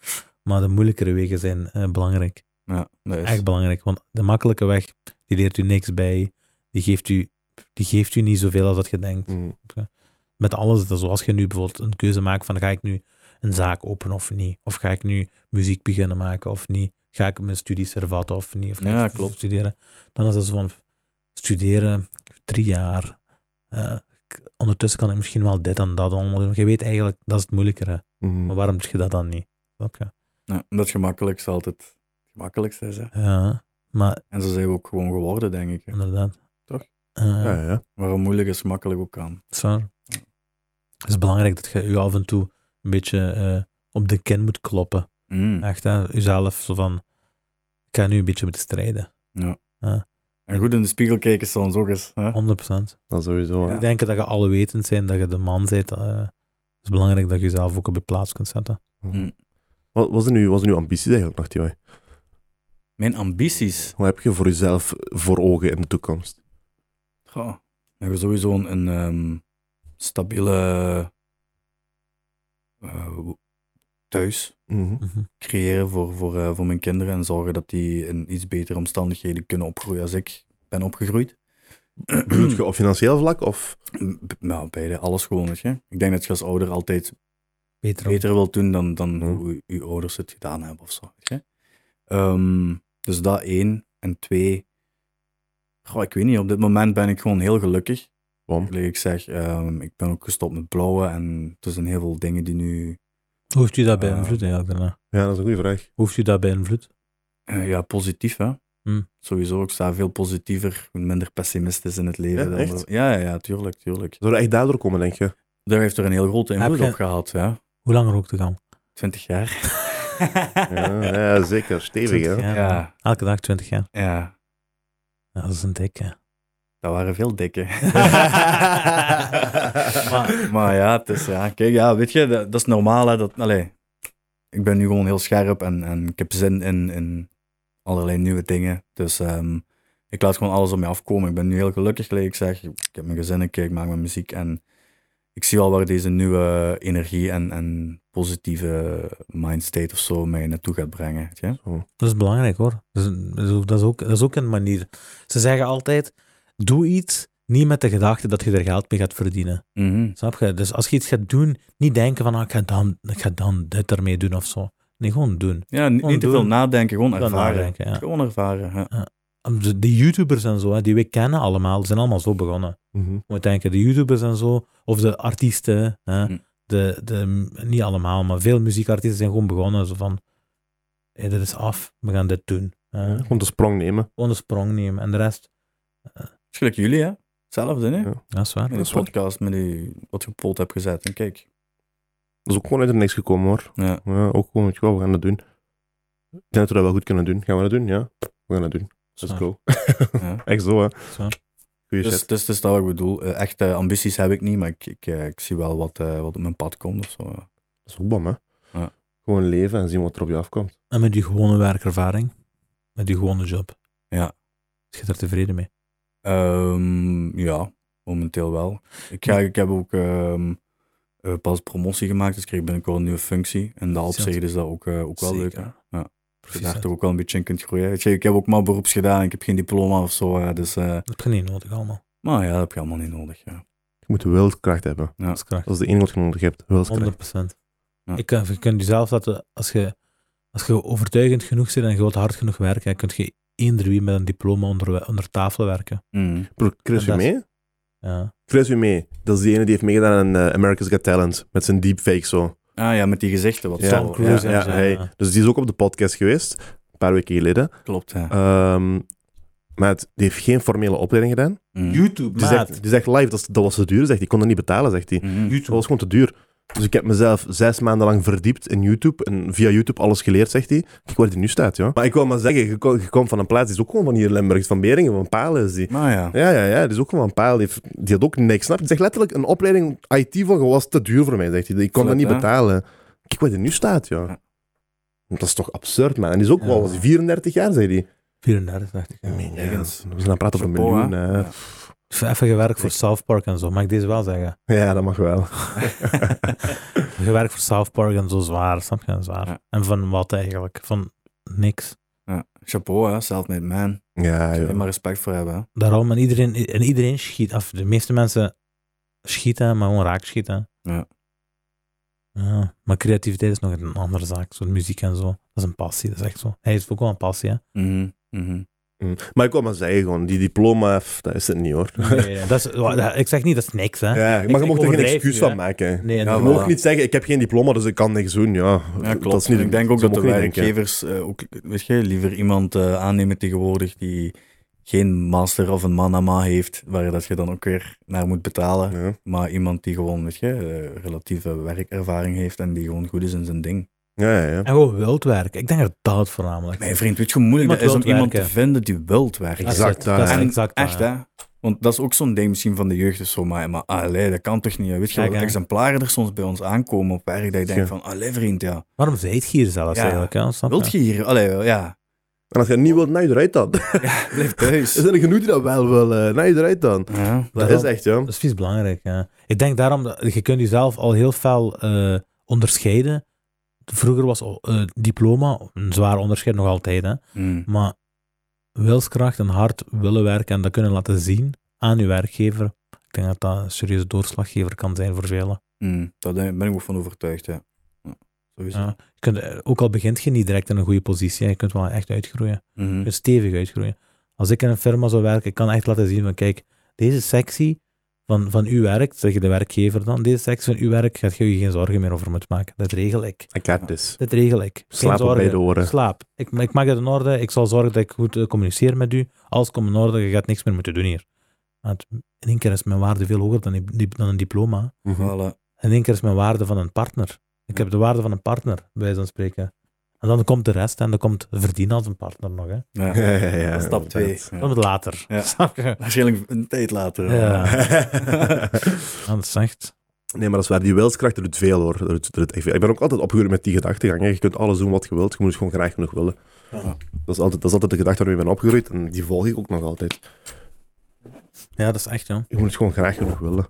Maar de moeilijkere wegen zijn eh, belangrijk.
ja dat is.
Echt belangrijk. Want de makkelijke weg, die leert u niks bij. Die geeft u, die geeft u niet zoveel als dat je denkt
Mm.
met alles. Dat zoals je nu bijvoorbeeld een keuze maakt van ga ik nu een zaak openen of niet? Of ga ik nu muziek beginnen maken of niet? Ga ik mijn studies hervatten of niet? Of ga
Ja,
ik
klopt.
studeren? Dan is dat zo van studeren drie jaar. Eh, k- ondertussen kan ik misschien wel dit en dat allemaal doen. Je weet eigenlijk, dat is het moeilijkere.
Mm.
Maar waarom doe je dat dan niet? Snap je?
Ja, dat gemakkelijk is altijd het gemakkelijkste. Is, hè.
Ja, maar
En zo zijn we ook gewoon geworden, denk ik. hè.
inderdaad.
Toch?
Eh,
Ja, ja.
Waarom moeilijk is, gemakkelijk ook kan.
Dat is waar. Het is belangrijk dat je je af en toe een beetje eh, op de kin moet kloppen.
Mm.
Echt, hè, uzelf zo van, ik ga nu een beetje moeten strijden.
En goed in de spiegel kijken is soms ook eens. Hè?
100%.
Dat sowieso.
Ja.
Ik denk dat je alwetend bent, dat je de man bent. eh, het is belangrijk dat je jezelf ook op je plaats kunt zetten.
Wat was nu, was nu ambities eigenlijk nog, Tjoy?
Mijn ambities.
Wat heb je voor jezelf eh, voor ogen in de toekomst?
Goh. Dan heb je sowieso een, een, ehm, stabiele eh, thuis
Mhm.
Mhm.
creëren voor, voor, eh, voor mijn kinderen en zorgen dat die in iets betere omstandigheden kunnen opgroeien als ik ben opgegroeid.
Bedoel je op financieel vlak of...
B- nou, beide, alles gewoon, weet je. Ik denk dat je als ouder altijd
Beter,
beter wilt doen dan, dan
Ja.
hoe je ouders het gedaan hebben of zo, weet je. Ehm, dus dat één. En twee, goh, ik weet niet, op dit moment ben ik gewoon heel gelukkig.
Waarom?
Like ik zeg, ehm, ik ben ook gestopt met blauwen en er zijn heel veel dingen die nu
Hoe heeft u dat
Eh,
beïnvloed eigenlijk daarna?
Ja, dat is een goede vraag.
Hoe heeft u dat beïnvloed?
Eh, ja, positief, hè?
Hm.
Hmm.
Sowieso, ik sta veel positiever, minder pessimistisch in het leven.
Ja,
dan
echt?
dat- Ja, ja, ja, tuurlijk, tuurlijk.
Zou dat echt daardoor komen, denk je?
Daar heeft er een heel grote invloed
Heb je-
op gehad, ja.
Hoe lang er ook te gaan?
20 jaar.
Ja, ja, zeker. Stevig,
20
hè?
jaar.
Ja.
Elke dag 20 jaar.
ja,
Ja, dat is een dikke.
dat waren veel dikke.
Maar-
maar ja, het is, ja, kijk, ja, weet je, dat, dat is normaal, hè. Dat, allee, ik ben nu gewoon heel scherp en, en ik heb zin in, in allerlei nieuwe dingen. Dus ehm, ik laat gewoon alles op me afkomen. Ik ben nu heel gelukkig, like ik zeg. Ik heb mijn gezin, ik, ik maak mijn muziek en ik zie wel waar deze nieuwe energie en, en positieve mindstate of zo mij naartoe gaat brengen. Weet je?
Dat is belangrijk hoor. Dat is, dat is ook- dat, is ook, dat is ook een manier. Ze zeggen altijd, doe iets niet met de gedachte dat je er geld mee gaat verdienen.
Mhm.
Snap je? Dus als je iets gaat doen, niet denken van ah, ik, ga dan, ik ga dan dit ermee doen of zo. Nee, gewoon doen.
Ja, niet, niet te veel
Gewoon
nadenken, gewoon
Gewoon
ervaren.
nadenken, ja.
Gewoon ervaren. Ja.
De- Die YouTubers en zo, hè, die we kennen allemaal, zijn allemaal zo begonnen.
Mhm.
Moet denken, de YouTubers en zo, of de artiesten, hè,
Hm.
de, de, niet allemaal, maar veel muziekartiesten zijn gewoon begonnen. Zo van, hé, dit is af, we gaan dit doen. hè.
Om de sprong nemen.
Gewoon een sprong nemen. En de rest,
Is gelijk jullie, hè? Hetzelfde, hè?
Ja.
Ah, dat is waar.
Met
Dat is
die
waar.
podcast, met die, wat je op pot hebt gezet. En kijk,
Dat is ook gewoon uit het niks gekomen, hoor.
ja.
Ja, ook gewoon, weet je wel, we gaan dat doen. Ik denk dat we dat wel goed kunnen doen. Gaan we dat doen? Ja, we gaan dat doen. Dat
Dat is
is cool.
ja.
Echt zo, hè?
is waar.
Goeie
Dus,
shit.
dus, dus dat wat ik bedoel. Eh, Echte ambities heb ik niet, maar ik, ik, eh, ik zie wel wat, eh, wat op mijn pad komt of zo.
Dat is ook bom, hè?
Ja.
Gewoon leven en zien wat er op je afkomt.
En met je gewone werkervaring, met je gewone job.
Ja.
Is je daar tevreden mee?
Ehm, ja, momenteel wel. Ik, ga, ik heb ook ehm, eh, pas promotie gemaakt, dus ik kreeg binnenkort een nieuwe functie. En dat op
Zot.
zich is dat ook, eh, ook wel leuk.
Zeker.
Hè? Ja. Dat je
Precies.
daar
Dat
toch ook wel een beetje in kunt groeien. Weet je, ik heb ook maar beroeps gedaan, ik heb geen diploma of zo. hè, dus, eh,
heb je niet nodig allemaal.
maar ja, dat heb je allemaal niet nodig. Ja.
Je moet wilskracht hebben.
Dat is kracht.
Dat is de enige wat je nodig hebt. Wilskracht.
100 procent.
Ja.
Je, kunt- je kunt jezelf laten, als je, als je overtuigend genoeg zit en je wilt hard genoeg werken, dan kun je eender wie met een diploma onder, onder tafel werken.
Mm.
Bro, Chris
En dat is-
mee?
Ja.
Chris mee. Dat is die ene die heeft meegedaan aan eh, America's Got Talent. Met zijn deepfake zo.
Ah ja, met die gezichten wat
Ja,
zo.
Cruise
ja,
en
ja,
zo,
hij.
ja.
Dus die is ook op de podcast geweest. Een paar weken geleden.
ja, klopt. Ja.
Ehm, maar het- die heeft geen formele opleiding gedaan.
Mm.
YouTube,
Die zegt, die zegt live, dat, is- dat was te duur. Zegt hij. Ik kon dat niet betalen, zegt hij.
Mhm.
Het was gewoon te duur. Dus ik heb mezelf zes maanden lang verdiept in YouTube. En via YouTube alles geleerd, zegt hij. Kijk waar die nu staat, joh. Maar ik wil maar zeggen, je, ko- je komt van een plaats, die is ook gewoon van hier in Limburg. Is Van Beringen, van Palen is die.
Maar ja.
Ja, ja, ja. Die is ook gewoon van Palen. Die, heeft- die had ook niks. Snap je? Die zegt letterlijk, een opleiding IT van was te duur voor mij, zegt hij. Ik kon dat
Flat,
niet
hè?
betalen. Kijk waar die nu staat, joh.
Ja.
Dat is toch absurd, man. En die is ook
Ja.
wel was die 34 jaar, zei hij.
34, dacht ik. ja.
Ik meen, ja, We
ergens.
zijn aan het praten over een
Chapeau,
miljoen. eh,
hè?
hè.
Ja.
Even gewerkt voor South Park en zo, mag ik deze wel zeggen.
Ja, dat mag wel.
Gewerkt voor South Park en zo zwaar, snap je? Zwaar.
Ja.
En van wat eigenlijk? Van niks.
Ja. Chapeau, hè? self-made man.
Ja,
Daar
joh.
moet je maar respect voor hebben. hè.
Daarom, en iedereen, en iedereen schiet af. De meeste mensen schieten, maar gewoon raak schieten.
Ja.
Ja, maar creativiteit is nog een andere zaak. Zoals muziek en zo. Dat is een passie, dat is echt zo. Hij is ook wel een passie, hè?
Mhm. Mhm.
Mm. Maar ik wil maar zeggen, gewoon, die diploma, pff, dat is het niet, hoor.
dat is, wa- dat- ik zeg niet, dat is niks, hè?
Ja, maar
Ik-
je
ik
mocht er geen
overdrijf
excuus
nu, hè.
van maken.
Nee,
Je
Ja,
dat
wel.
mag
voilà.
niet zeggen, ik heb geen diploma, dus ik kan niks doen. Ja,
Ja, klopt.
Dat is niet,
En ik denk ook
zo
dat de
mogen we niet denken.
werkgevers eh, ook, weet je, liever iemand eh, aannemen tegenwoordig die geen master of een manama heeft, waar dat je dan ook weer naar moet betalen.
Ja.
Maar iemand die gewoon, weet je, eh, relatieve werkervaring heeft en die gewoon goed is in zijn ding.
Ja, ja, ja.
En gewoon wilt werken. Ik denk dat dat het voornamelijk
Mijn vriend, weet je hoe moeilijk
Iemand
dat is om
wilt
iemand te
werken.
vinden die wilt werken?
Dat is
Exact,
het,
daar,
dat is
hè.
En
exact
echt,
waar.
hè. Want dat is ook zo'n ding misschien van de jeugd of zo, maar, maar allee, dat kan toch niet? hè? Weet je,
Ja,
wat
ja.
exemplaren er soms bij ons aankomen op werk, dat je denkt van, allee vriend, ja,
Waarom zei het hier zelfs
Ja.
eigenlijk? Hè? Snap
wilt je hier? Allee, ja,
En als je het niet wilt, nou je eruit dan.
blijf
Er
thuis.
zijn er genoeg die dat wel willen. Nou je eruit dan.
Ja.
Dat
Daarom-
is echt, ja.
Dat is vies belangrijk, ja. Ik denk daarom, dat, je kunt jezelf al heel fel eh, onderscheiden. Vroeger was eh, diploma een zwaar onderscheid, nog altijd, hè.
Mm.
Maar wilskracht en hard willen werken en dat kunnen laten zien aan je werkgever, ik denk dat dat een serieuze doorslaggever kan zijn voor velen.
Mm, daar ben ben ik ook van overtuigd, ja. ja sowieso.
Ja. Je kunt, eh, ook al begint je niet direct in een goede positie, hè, je kunt wel echt uitgroeien.
Mhm.
Je kunt stevig uitgroeien. Als ik in een firma zou werken, ik kan echt laten zien van, kijk, deze sectie van, van uw werk, zeg je de werkgever dan, deze sectie van uw werk gaat je je geen zorgen meer over moeten maken. Dat regel ik.
I got this.
Dit regel ik. Geen
Slaap op
zorgen.
beide oren.
Slaap. Ik, ik maak het in orde. Ik zal zorgen dat ik goed eh, communiceer met u. Alles komt in orde. Je gaat niks meer moeten doen hier. Want in één keer is mijn waarde veel hoger dan, die- die- dan een diploma.
Mhm.
Voilà.
In één keer is mijn waarde van een partner. Ik heb de waarde van een partner, bij wijze van spreken. En dan komt de rest en dan komt verdienen als een partner nog. Hè.
Ja.
Ja, ja, ja,
Dat is stap
inderdaad.
2.
Dat moet later.
Ja.
Snap je?
Waarschijnlijk een tijd later.
Ja. Ja, dat is echt...
Nee, maar dat is waar. Die wilskracht, dat doet veel, hoor. Dat doet, dat doet echt veel. Ik ben ook altijd opgegroeid met die gedachtegang. hè. Je kunt alles doen wat je wilt, je moet het gewoon graag genoeg willen.
Ja.
Dat, is altijd, dat is altijd de gedachte waarmee ik ben opgegroeid en die volg ik ook nog altijd.
Ja, dat is echt, joh.
Je moet het gewoon graag genoeg willen.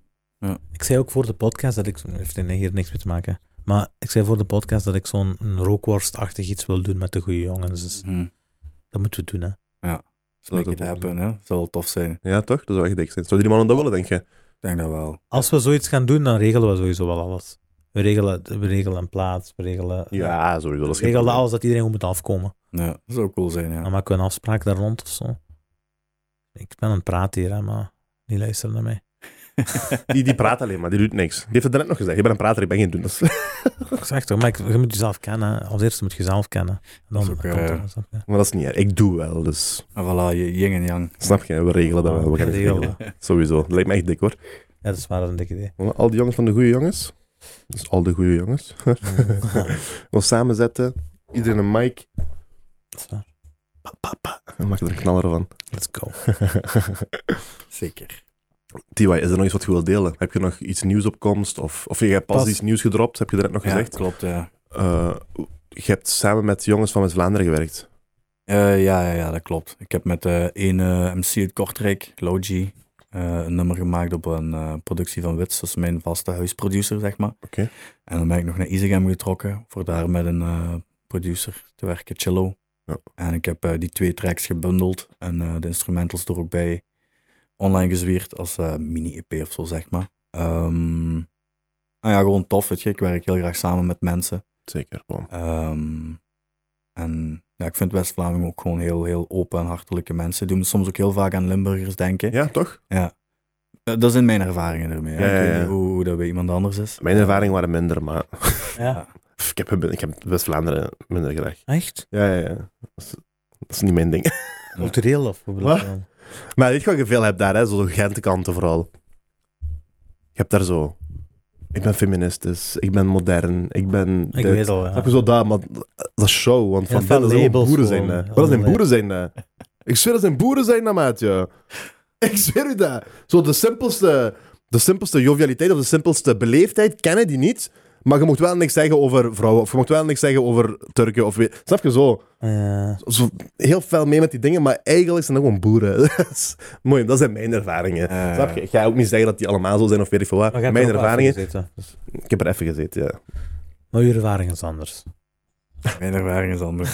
Ik zei ook voor de podcast dat ik... Heeft hier niks mee te maken. Maar ik zei voor de podcast dat ik zo'n een rookworstachtig iets wil doen met de goede jongens. Dus
Mhm.
dat moeten we doen, hè.
Zou
Make
dat
it
ook-
happen, hè. Zou wel tof zijn. Ik
Ja, toch? Dat zou echt dik zijn. Zouden die mannen dat willen, denk je?
denk dat wel.
Als we zoiets gaan doen, dan regelen we sowieso wel alles. We regelen, we regelen een plaats, we regelen...
Ja, sowieso.
we
Dat is geen
regelen
probleem.
alles dat iedereen goed moet afkomen.
Ja, dat zou cool zijn, ja.
Dan maken we een afspraak daar rond of zo. Ik ben aan het praten hier, hè, maar niet luisteren naar mij.
Die, die praat alleen maar, die doet niks. Die heeft het net nog gezegd. Je bent een prater, ik ben geen doen. Dat is-
Ik zeg toch, maar ik- je moet jezelf kennen. hè. Als eerste moet je jezelf kennen. Dan
Dat is ook,
komt
eh,
er een stap, ja.
Maar dat is niet erg. Ik doe wel, dus...
En voilà, je- yin en yang.
Snap je? We regelen dat wel. We gaan
Ja,
het
regelen
regelen.
we.
Sowieso. Dat lijkt me echt dik, hoor.
Ja, dat is waar, dat is een dik idee.
Al die jongens van de goede jongens. Dus al de goede jongens. Ons samenzetten. Iedereen een mic.
Dat is waar.
Dan maak je er een knaller van.
Let's go.
Zeker.
Tiwa, is er nog iets wat je wilt delen? Heb je nog iets nieuws op komst? Of, of je hebt pas,
Pas.
iets nieuws gedropt, heb je net nog
Ja,
gezegd?
klopt, ja.
Eh, je hebt samen met jongens van West-Vlaanderen gewerkt.
Eh, ja, ja, ja, dat klopt. Ik heb met eh één eh, MC uit Kortrijk, Logi, eh, een nummer gemaakt op een eh, productie van Wits. Dat is mijn vaste huisproducer, zeg maar.
Oké.
En dan ben ik nog naar Isegem getrokken voor daar met een eh, producer te werken, Cello.
Ja.
En ik heb eh, die twee tracks gebundeld en eh, de instrumentals er ook bij online gezwierd als eh, mini-EP of zo, zeg maar. Ehm nou ja, gewoon tof, weet je. Ik werk heel graag samen met mensen.
Zeker. Bon.
Ehm, en ja, ik vind West-Vlamingen ook gewoon heel, heel open en hartelijke mensen. Die doen soms ook heel vaak aan Limburgers denken.
Ja, toch?
Eh, Dat zijn mijn ervaringen ermee. hè.
Ja, ja,
Ik weet
ja.
niet hoe, hoe dat bij iemand anders is.
Mijn ervaringen waren minder, maar
Ja.
ik heb, ik heb West-Vlaanderen minder graag.
Echt?
Ja, ja, ja. Dat is, dat is niet mijn ding.
Cultureel of hoe bedoel je
Wat?
dan?
Maar weet je wat je veel hebt daar, hè? Zo de Gentekanten vooral. Je hebt daar zo... Ik ben feministisch, ik ben modern, ik ben...
Ik
dit.
weet al, ja.
Ah. Heb je zo dat, maar dat is show, want van
Heel veel
binnen zijn allemaal
labels
boeren zijn
gewoon,
dat.
heel
Maar dat zijn
veel
boeren zijn dat. Ik zweer dat zijn boeren zijn dat, maatje. Ik zweer u dat. Zo de simpelste, de simpelste jovialiteit of de simpelste beleefdheid kennen die niet, maar je mocht wel niks zeggen over vrouwen, of je mocht wel niks zeggen over Turken, of weet... Snap je zo?
Ja.
zo heel fel mee met die dingen, maar eigenlijk zijn dat gewoon boeren. Dat is Mooi, dat zijn mijn ervaringen.
Eh,
Snap je? Ik ga ook niet zeggen dat die allemaal zo zijn of weet ik veel wat.
Maar jij hebt
Mijn
er ook wel
ervaringen,
even gezeten, dus-
ik heb er even gezeten, ja.
Maar uw ervaring is anders.
Mijn ervaring is anders.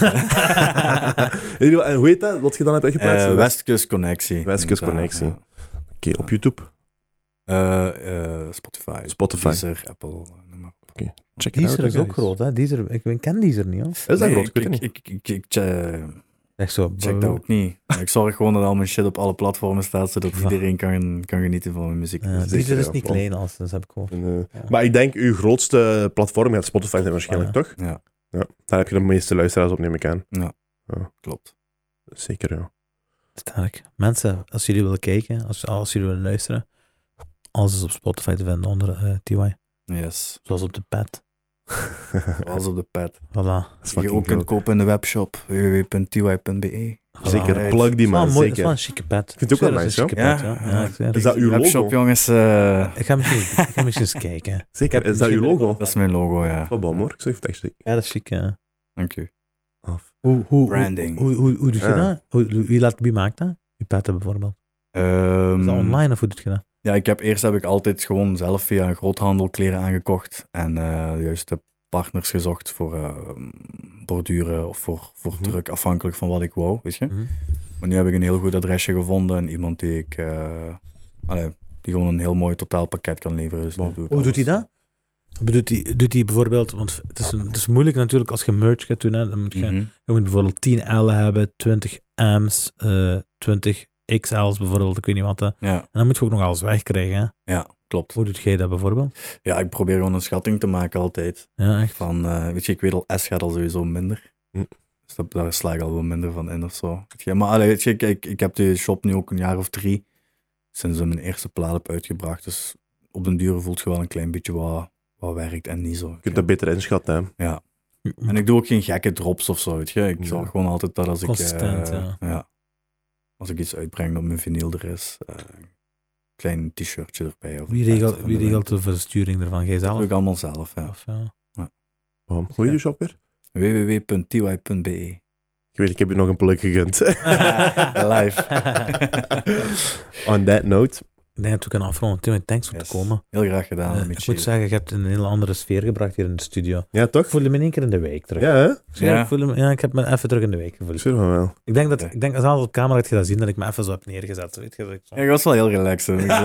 En
Eh,
jullie- en hoe heet dat, wat je dan hebt uitgeplaatst?
Westkust Connectie.
Westkust Connectie.
Ja.
Oké, op YouTube,
Eh, eh, Spotify.
Spotify.
Deezer, Apple. noem maar op.
Check it out,
Deezer is ook
guys.
groot, hè? Deezer, ik, ik ken Deezer niet, hoor.
Is dat
Nee,
groot? Ik
Ik,
weet het
ik,
niet.
ik, ik, ik che-
Echt zo.
check dat ook niet. Maar Ik zorg gewoon dat al mijn shit op alle platformen staat, zodat
Ja.
iedereen kan, kan genieten van mijn muziek.
Ja,
Zeker,
Deezer is
ja,
niet
klopt.
klein, als dat heb ik gehoord.
En, eh,
Ja. Ah,
Maar ik denk, uw grootste platform gaat Spotify zijn waarschijnlijk, toch?
Ja.
ja. Daar heb je de meeste luisteraars op, neem ik aan.
Klopt.
Zeker, ja.
Sterk. Mensen, als jullie willen kijken, als, als jullie willen luisteren, alles is op Spotify te vinden onder eh TY.
Yes,
Zoals op de pad.
alles op de pad.
Voilà.
Dat is
Die je
fucking
ook kunt
groot.
kopen in de webshop www.ty.be.
voilà.
Zeker,
Ja,
plug die
Het is wel
man,
een mooi- Het is wel
zeker.
een chique pad.
Vind je ook wel
Dat is
nice,
een
ja?
chique pad,
Ja.
ja. Ja, ik zeg het.
Is dat uw
Webshop,
logo?
jongens, eh,
Ik ga misschien, ik ga misschien eens kijken.
Zeker, is dat uw logo?
dat is mijn logo, ja.
Wat bom hoor, ik zeg het echt zeker. Ah,
Ja, dat is chic, ja.
Dank u.
Af.
Hoe, hoe,
Branding.
Hoe, hoe, hoe, hoe doe je
Ja.
dat? Hoe, hoe- wie, laat, wie maakt dat? Je petten bijvoorbeeld.
Ehm,
Is dat online of hoe doe je dat?
Ja, ik heb, eerst heb ik altijd gewoon zelf via een groothandel kleren aangekocht. En eh, de juiste partners gezocht voor eh, borduren of voor, voor
Mhm.
druk, afhankelijk van wat ik wou, weet je.
Mhm.
Maar nu heb ik een heel goed adresje gevonden en iemand die ik... eh, allee, die gewoon een heel mooi totaalpakket kan leveren. Dus nu doe ik
Hoe doet hij
alles.
dat? Doet hij, doet hij bijvoorbeeld, want het is, een- het is moeilijk natuurlijk als je merch gaat doen, hè, dan moet je
Mhm.
Je moet bijvoorbeeld 10 L'en hebben, 20 M's, eh, 20 XL's bijvoorbeeld, ik weet niet wat. hè. En
Ja,
dan moet je ook nog alles wegkrijgen. Hè?
ja, klopt.
Hoe doet jij dat bijvoorbeeld?
Ja, ik probeer gewoon een schatting te maken altijd.
Ja, echt.
Van, eh, weet je, ik weet al, S gaat al sowieso minder.
Hm.
Dus dat, daar sla ik al wel minder van in of zo. Weet je, maar allee, weet je, ik, ik, ik heb die shop nu ook een jaar of drie sinds ik mijn eerste plaat heb uitgebracht. Dus op den duur voelt je wel een klein beetje wat, wat werkt en niet zo.
Je kunt dat beter inschatten, hè.
En ik doe ook geen gekke drops of zo, weet je. Ik
Ja.
zorg gewoon altijd dat als ik... eh,
Consistent, ja.
Als ik iets uitbreng dat mijn vinyl er is. eh, klein t-shirtje erbij. Of
Wie
een
regelt,
kaartje
wie
van de
regelt de versturing ervan?
winkel. Dat doe
Jijzelf?
ik allemaal zelf, ja.
Of, ja.
Bom. Hoe heet je shop weer?
www.ty.be.
Ik weet, ik heb je nog een plug gegund.
Live.
On that note.
Ik denk dat we kunnen afronden. Timmy, thanks voor
Yes.
te komen.
Heel graag gedaan.
Eh,
met
ik
je.
moet zeggen, je hebt een hele andere sfeer gebracht hier in de studio.
Ja,
Ik
toch?
voelde me in één keer in de week terug.
Ja, hè?
Ik zeg,
Ja.
Ik voelde me, ja, ik heb me even terug in de week
Ik
gevoeld.
zweer van wel.
Ik denk dat,
Oké.
ik denk als alles op camera had je dat zien, dat ik me even zo heb neergezet. Weet je, dat ik zo...
Ja, ik was wel heel relaxed. moet ik
Ja,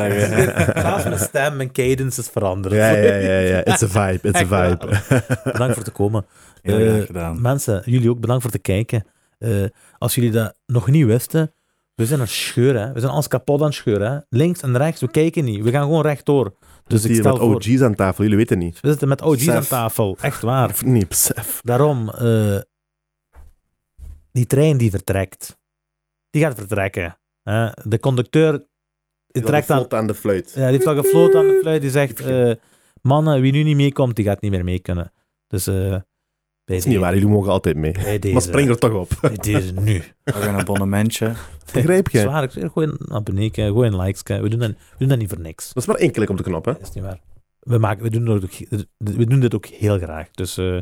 zeggen.
Zelfs mijn stem, mijn cadence is veranderd.
Ja, ja, ja, ja. It's a vibe, it's a
Echt waar.
vibe.
Bedankt voor het komen.
Heel
Eh,
graag gedaan.
Mensen, jullie ook bedankt voor het kijken. Eh, als jullie dat nog niet wisten, we zijn aan het scheuren. hè. We zijn alles kapot aan het scheuren. hè. Links en rechts, we kijken niet. We gaan gewoon rechtdoor. Dus ik
Hier
stel
met
voor,
OG's aan tafel, jullie weten niet.
we zitten met OG's aan
Besef.
tafel. Echt waar.
Of niet, besef.
Daarom, eh, die trein die vertrekt, die gaat vertrekken. hè. de conducteur die trekt aan,
aan de fluit.
Ja, die heeft al gefloten aan de fluit. Die zegt, eh, mannen, wie nu niet meekomt, die gaat niet meer mee kunnen. Dus eh, Bij
is niet waar, jullie mogen altijd mee.
Bij deze.
Maar spring er toch op.
Bij deze nu.
We gaan een abonnementje.
Begrijp je?
Zwaar, ik zeg, gooi een abonnee, gooi een likes. We doen, dat, we doen dat niet voor niks.
Dat is maar één klik op de knop, hè?
Dat is niet waar. We, maken, we, doen, dat ook, we doen dit ook heel graag. Dus eh, maar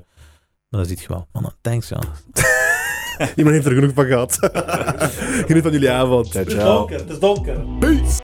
dat ziet je wel. Man, thanks, Jan.
Iemand heeft er genoeg van gehad. Geniet van jullie avond.
Ciao, ciao.
het is donker.
Peace.